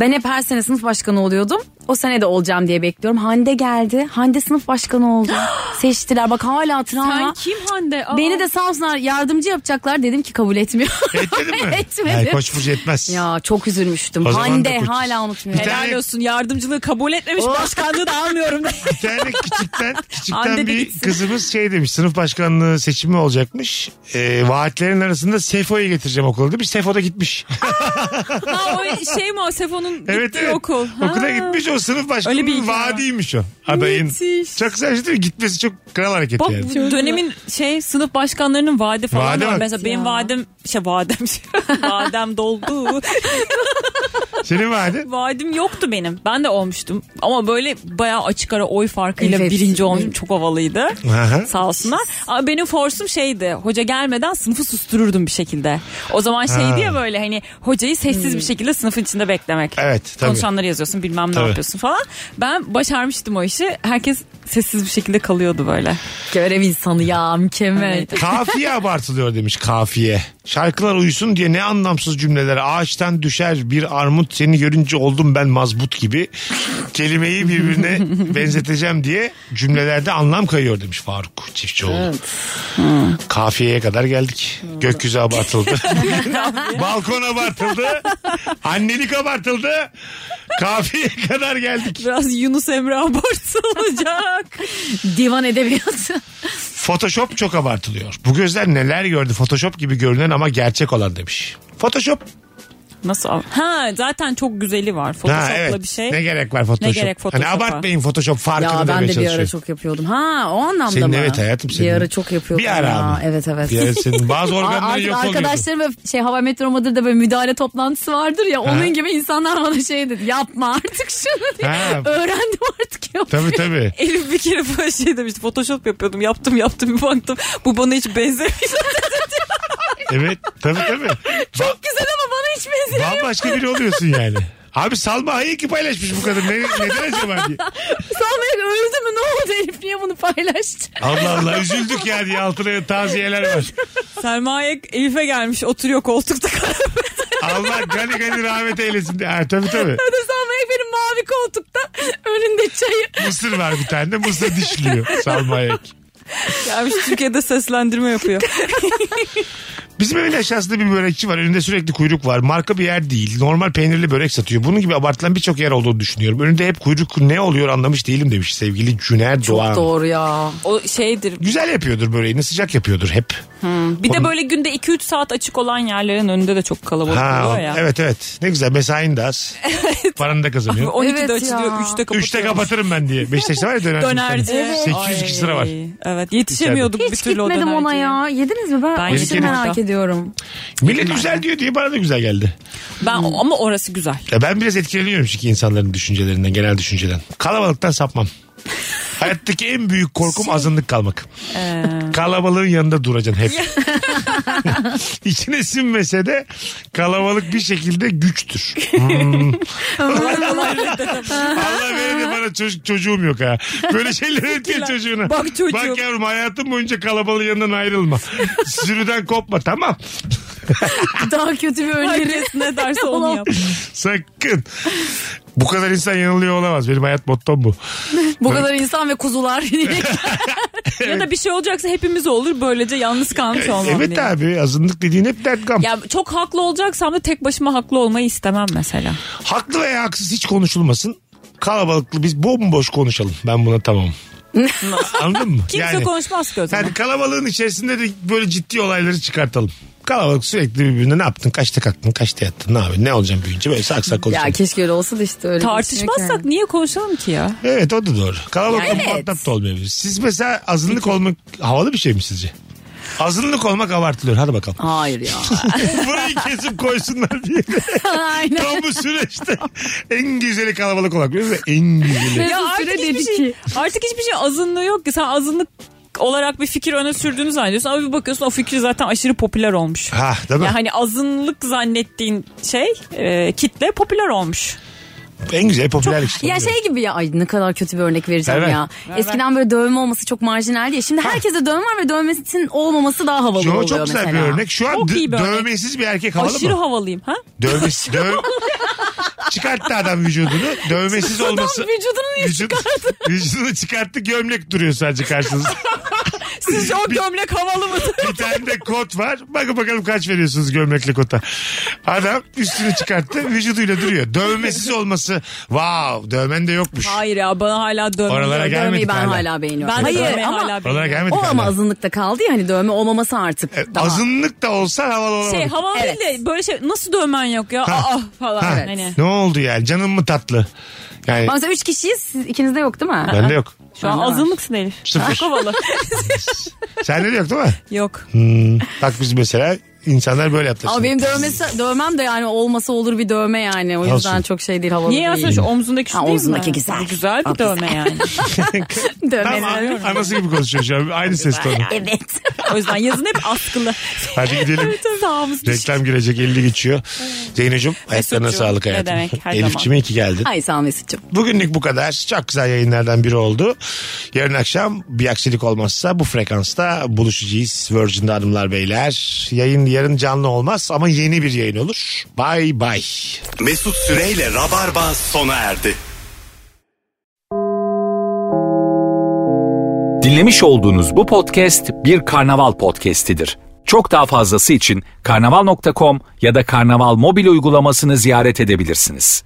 Ben hep her sene sınıf başkanı oluyordum. O sene de olacağım diye bekliyorum. Hande geldi. Hande sınıf başkanı oldu. Seçtiler bak hala
Sen
travma.
kim Hande? Aa.
Beni de sağ olsunlar yardımcı yapacaklar dedim ki kabul etmiyor.
Etmedin mi?
Etmedim.
Yani koç burcu etmez.
Ya çok üzülmüştüm.
O zaman da
Hande
koçuz.
hala unutmuyorum.
Bir
Helal
tane-
olsun yardımcılığı kabul etmemiş başkanlığı da almıyorum.
Bir tane küçükten,
Anne
küçükten
de
bir
gitsin.
kızımız şey demiş sınıf başkanlığı seçimi olacakmış. Ee, vaatlerin arasında Sefo'yu getireceğim okula demiş. Sefo da gitmiş.
ha o şey mi o Sefo'nun
evet
gittiği
evet.
okul. Ha.
Okula gitmiş o sınıf
Öyle bir
başkanının
hikaye var.
vaadiymiş o. Adayın.
Müthiş.
Çok güzel bir şey değil mi? Gitmesi çok kral hareket
Bak
yani.
bu dönemin şey sınıf başkanlarının vaadi falan
Vaadi
var.
bak.
Mesela benim
Ya.
vadim şey vadim vadem doldu.
Senin vaadin.
Vaadim yoktu benim. Ben de olmuştum. Ama böyle bayağı açık ara oy farkıyla
Evet.
birinci olmuşum. Çok havalıydı.
Aha.
Sağ olsunlar. Ama benim forsum şeydi. Hoca gelmeden sınıfı sustururdum bir şekilde. O zaman
Ha. Hmm.
şeydi ya böyle hani hocayı sessiz bir şekilde sınıfın içinde beklemek.
Evet tabii.
Konuşanları yazıyorsun bilmem ne
Tabii.
yapıyorsun falan. Ben başarmıştım o işi. Herkes sessiz bir şekilde kalıyordu böyle.
Görev insanı ya mükemmel.
Kafiye abartılıyor demiş kafiye. Şarkılar uyusun diye ne anlamsız cümleler. Ağaçtan düşer bir armut seni görünce oldum ben mazbut gibi. Kelimeyi birbirine benzeteceğim diye cümlelerde anlam kayıyor demiş Faruk Çiftçioğlu. Hmm. Kafiyeye kadar geldik. Gökyüzü abartıldı. Balkon abartıldı. Annelik abartıldı. Kafiyeye kadar geldik.
Biraz Yunus Emre abartılacak.
Divan edebiyatı.
Photoshop çok abartılıyor. Bu gözler neler gördü Photoshop gibi görünen ama gerçek olan demiş. Photoshop
Nasıl? al- Ha zaten çok güzeli var. Photoshop'la
Ha, evet.
bir şey.
Ne gerek var Photoshop?
Ne gerek Photoshop'a?
Hani abartmayın Photoshop farkını
Ya ben
demeye
de bir ara
çalışıyorum.
çok yapıyordum. Ha o anlamda
Senin
mı?
evet hayatım senin.
Bir ara çok yapıyordum.
Bir ara
ya.
ama.
Evet evet.
Bir ara senin bazı
Ar-
organların
artık
yok oluyordu.
arkadaşlarım ve şey Hava Metro Madrid'de böyle müdahale toplantısı vardır ya onun gibi insanlar bana şey dedi yapma artık şunu diye.
Ha.
Öğrendim artık yok.
Tabii tabii.
Elif bir kere böyle şey demişti. Photoshop yapıyordum. Yaptım yaptım bir baktım. Bu bana hiç benzemiyor.
Evet tabii tabii. Ba-
Güzel ama bana hiç benzemiyor.
bambaşka biri oluyorsun yani. Abi Salma Hayek ki paylaşmış bu kadın. Ne, neden acaba diye.
Sanmayın öldü mü ne oldu Elif niye bunu paylaştı?
Allah Allah üzüldük ya diye altına taziyeler var.
Selma Hayek Elif'e gelmiş oturuyor koltukta.
Allah gani gani rahmet eylesin diye. Ha, tabii tabii.
Hadi Selma Hayek benim mavi koltukta. Önünde çayı.
Mısır var bir tane de mısır dişliyor Salma Hayek.
Gelmiş Türkiye'de seslendirme yapıyor.
Bizim evin aşağısında bir börekçi var. Önünde sürekli kuyruk var. Marka bir yer değil. Normal peynirli börek satıyor. Bunun gibi abartılan birçok yer olduğunu düşünüyorum. Önünde hep kuyruk ne oluyor anlamış değilim demiş sevgili Cüner Doğan.
Doğru ya.
O şeydir.
Güzel yapıyordur böreğini sıcak yapıyordur hep.
Bir de böyle günde 2-3 saat açık olan yerlerin önünde de çok kalabalık
Ha,
oluyor ya.
evet evet ne güzel mesain de az. Paranı da kazanıyor.
12'de
Evet
açılıyor,
ya.
3'te kapatıyor.
Üçte kapatırım ben diye. Beşiktaş'ta var ya dönerci.
Dönerci.
800 kişi sıra var.
Ay, Evet yetişemiyorduk bir
Hiç
türlü o
gitmedim ona
dönerciye.
ya. Yediniz mi? Ben
Ben
aşırı
yedim.
merak ediyorum.
Millet güzel diyor diye bana da güzel geldi.
Ben ama orası güzel.
Ya ben biraz etkileniyorum çünkü insanların düşüncelerinden, genel düşünceden. Kalabalıktan sapmam. Hayattaki en büyük korkum azınlık kalmak.
Ee.
Kalabalığın yanında duracaksın hep. İçine sinmese de kalabalık bir şekilde güçtür. Hmm. Allah verir de bana çocuk, çocuğum yok ha. Böyle şeyler öğretir çocuğuna.
Bak çocuğum.
Bak yavrum hayatım boyunca kalabalığın yanından ayrılma. Sürüden kopma tamam.
Daha kötü bir öneri.
Herkes ne derse onu yap.
Sakın. Bu kadar insan yanılıyor olamaz. Benim hayat mottom bu.
Bu kadar insan ve kuzular.
ya da bir şey olacaksa hepimiz olur. Böylece yalnız kalmış olmam.
Evet
diye.
abi azınlık dediğin hep dert gam.
Ya çok haklı olacaksam da tek başıma haklı olmayı istemem mesela.
Haklı veya haksız hiç konuşulmasın. Kalabalıklı biz bomboş konuşalım. Ben buna tamamım. Anladın mı?
Kimse konuşmaz ki o zaman.
Yani kalabalığın içerisinde de böyle ciddi olayları çıkartalım. Kalabalık sürekli birbirine ne yaptın? Kaçta kalktın? Kaçta yattın? Ne yapıyorsun? Ne olacaksın büyüyünce? Böyle sak sak
Ya
konuşalım.
keşke öyle olsa da işte öyle.
Tartışmazsak niye konuşalım ki ya?
Evet o da doğru. Kalabalıkta
Yani evet.
muhatap da olmayabilir. Siz mesela azınlık olmak havalı bir şey mi sizce? Azınlık olmak abartılıyor. Hadi bakalım.
Hayır ya.
Burayı kesip koysunlar diye.
Aynen.
Tam bu süreçte en güzeli kalabalık olmak. Biliyor musun? En güzeli.
Ya
Mesut
artık
Süre
hiçbir
dedi
şey,
ki.
artık hiçbir şey azınlığı yok ki. Sen azınlık olarak bir fikir öne sürdüğünü zannediyorsun ama bir bakıyorsun o fikir zaten aşırı popüler olmuş.
Ha değil mi?
Ya hani azınlık zannettiğin şey e, kitle popüler olmuş.
En güzel popülerlik işte.
Ya şey gibi ya ay ne kadar kötü bir örnek vereceğim
Evet.
ya. Eskiden böyle dövme olması çok marjinaldi ya. Şimdi herkeste dövme var ve dövmesinin olmaması daha havalı
Yo,
oluyor
çok güzel
mesela.
bir örnek. Şu an
Çok
dö-
iyi bir örnek.
dövmesiz bir erkek havalı
aşırı şey
mı?
havalıyım ha?
Dövmesiz. Döv... Çıkarttı adam vücudunu. Dövmesiz
Adam
olması.
vücudunu niye
Vücut-
çıkardı?
Vücudunu çıkarttı gömlek duruyor sadece karşınızda.
Sizce o gömlek havalı mı?
Bir tane de kot var. Bakın bakalım kaç veriyorsunuz gömlekli kota. Adam üstünü çıkarttı vücuduyla duruyor. Dövmesiz olması. Vav dövmen de yokmuş.
Hayır ya bana hala dövme.
Oralara
dövme-
gelmedik
Dövmeyi ben
hala.
hala beğeniyorum.
Ben
Hayır
dövmeyi
ama
hala
Oralara
bilmiyorum.
gelmedik
o ama
hala.
azınlıkta kaldı ya hani dövme olmaması artık.
E,
daha.
Azınlık da olsa havalı olamadık.
Şey havalı
Evet.
değil de böyle şey nasıl dövmen yok ya?
Ha.
Aa falan.
Ha,
Hani.
Ne oldu yani canım mı tatlı? Yani
Bak Mesela üç kişiyiz siz ikinizde yok değil mi?
bende yok.
Şu an
Bende var.
azınlıksın Elif.
Sıfır.
Çok havalı.
Sende de yok değil mi?
yok.
Hmm. Bak biz mesela insanlar böyle yaklaşıyor.
Ama benim dövmesi, dövmem de yani olmasa olur bir dövme yani. O yüzden
Olsun.
çok şey değil havalı
Niye yazsın
değil.
şu omzundaki şu
Ha,
değil mi?
omzundaki güzel.
Bu Güzel
O
bir
güzel.
dövme yani.
Dövme.
Tamam anası gibi konuşuyor şu an. Aynı ses tonu.
Evet.
O yüzden yazın hep askılı.
Hadi gidelim.
Sağımız düşük.
Reklam girecek 50 geçiyor. Zeynocuğum ayaklarına
Mesutcuğum,
sağlık
ne
hayatım.
demek, her
Elifçime
zaman.
iyi ki geldin.
Ay sağ ol Mesut'cum.
Bugünlük bu kadar. Çok güzel yayınlardan biri oldu. Yarın akşam bir aksilik olmazsa bu frekansta buluşacağız. Virgin'de hanımlar beyler. Yayın yarın canlı olmaz ama yeni bir yayın olur. Bay bay.
Mesut Süreyle Rabarba sona erdi.
Dinlemiş olduğunuz bu podcast bir karnaval podcastidir. Çok daha fazlası için karnaval.com ya da karnaval mobil uygulamasını ziyaret edebilirsiniz.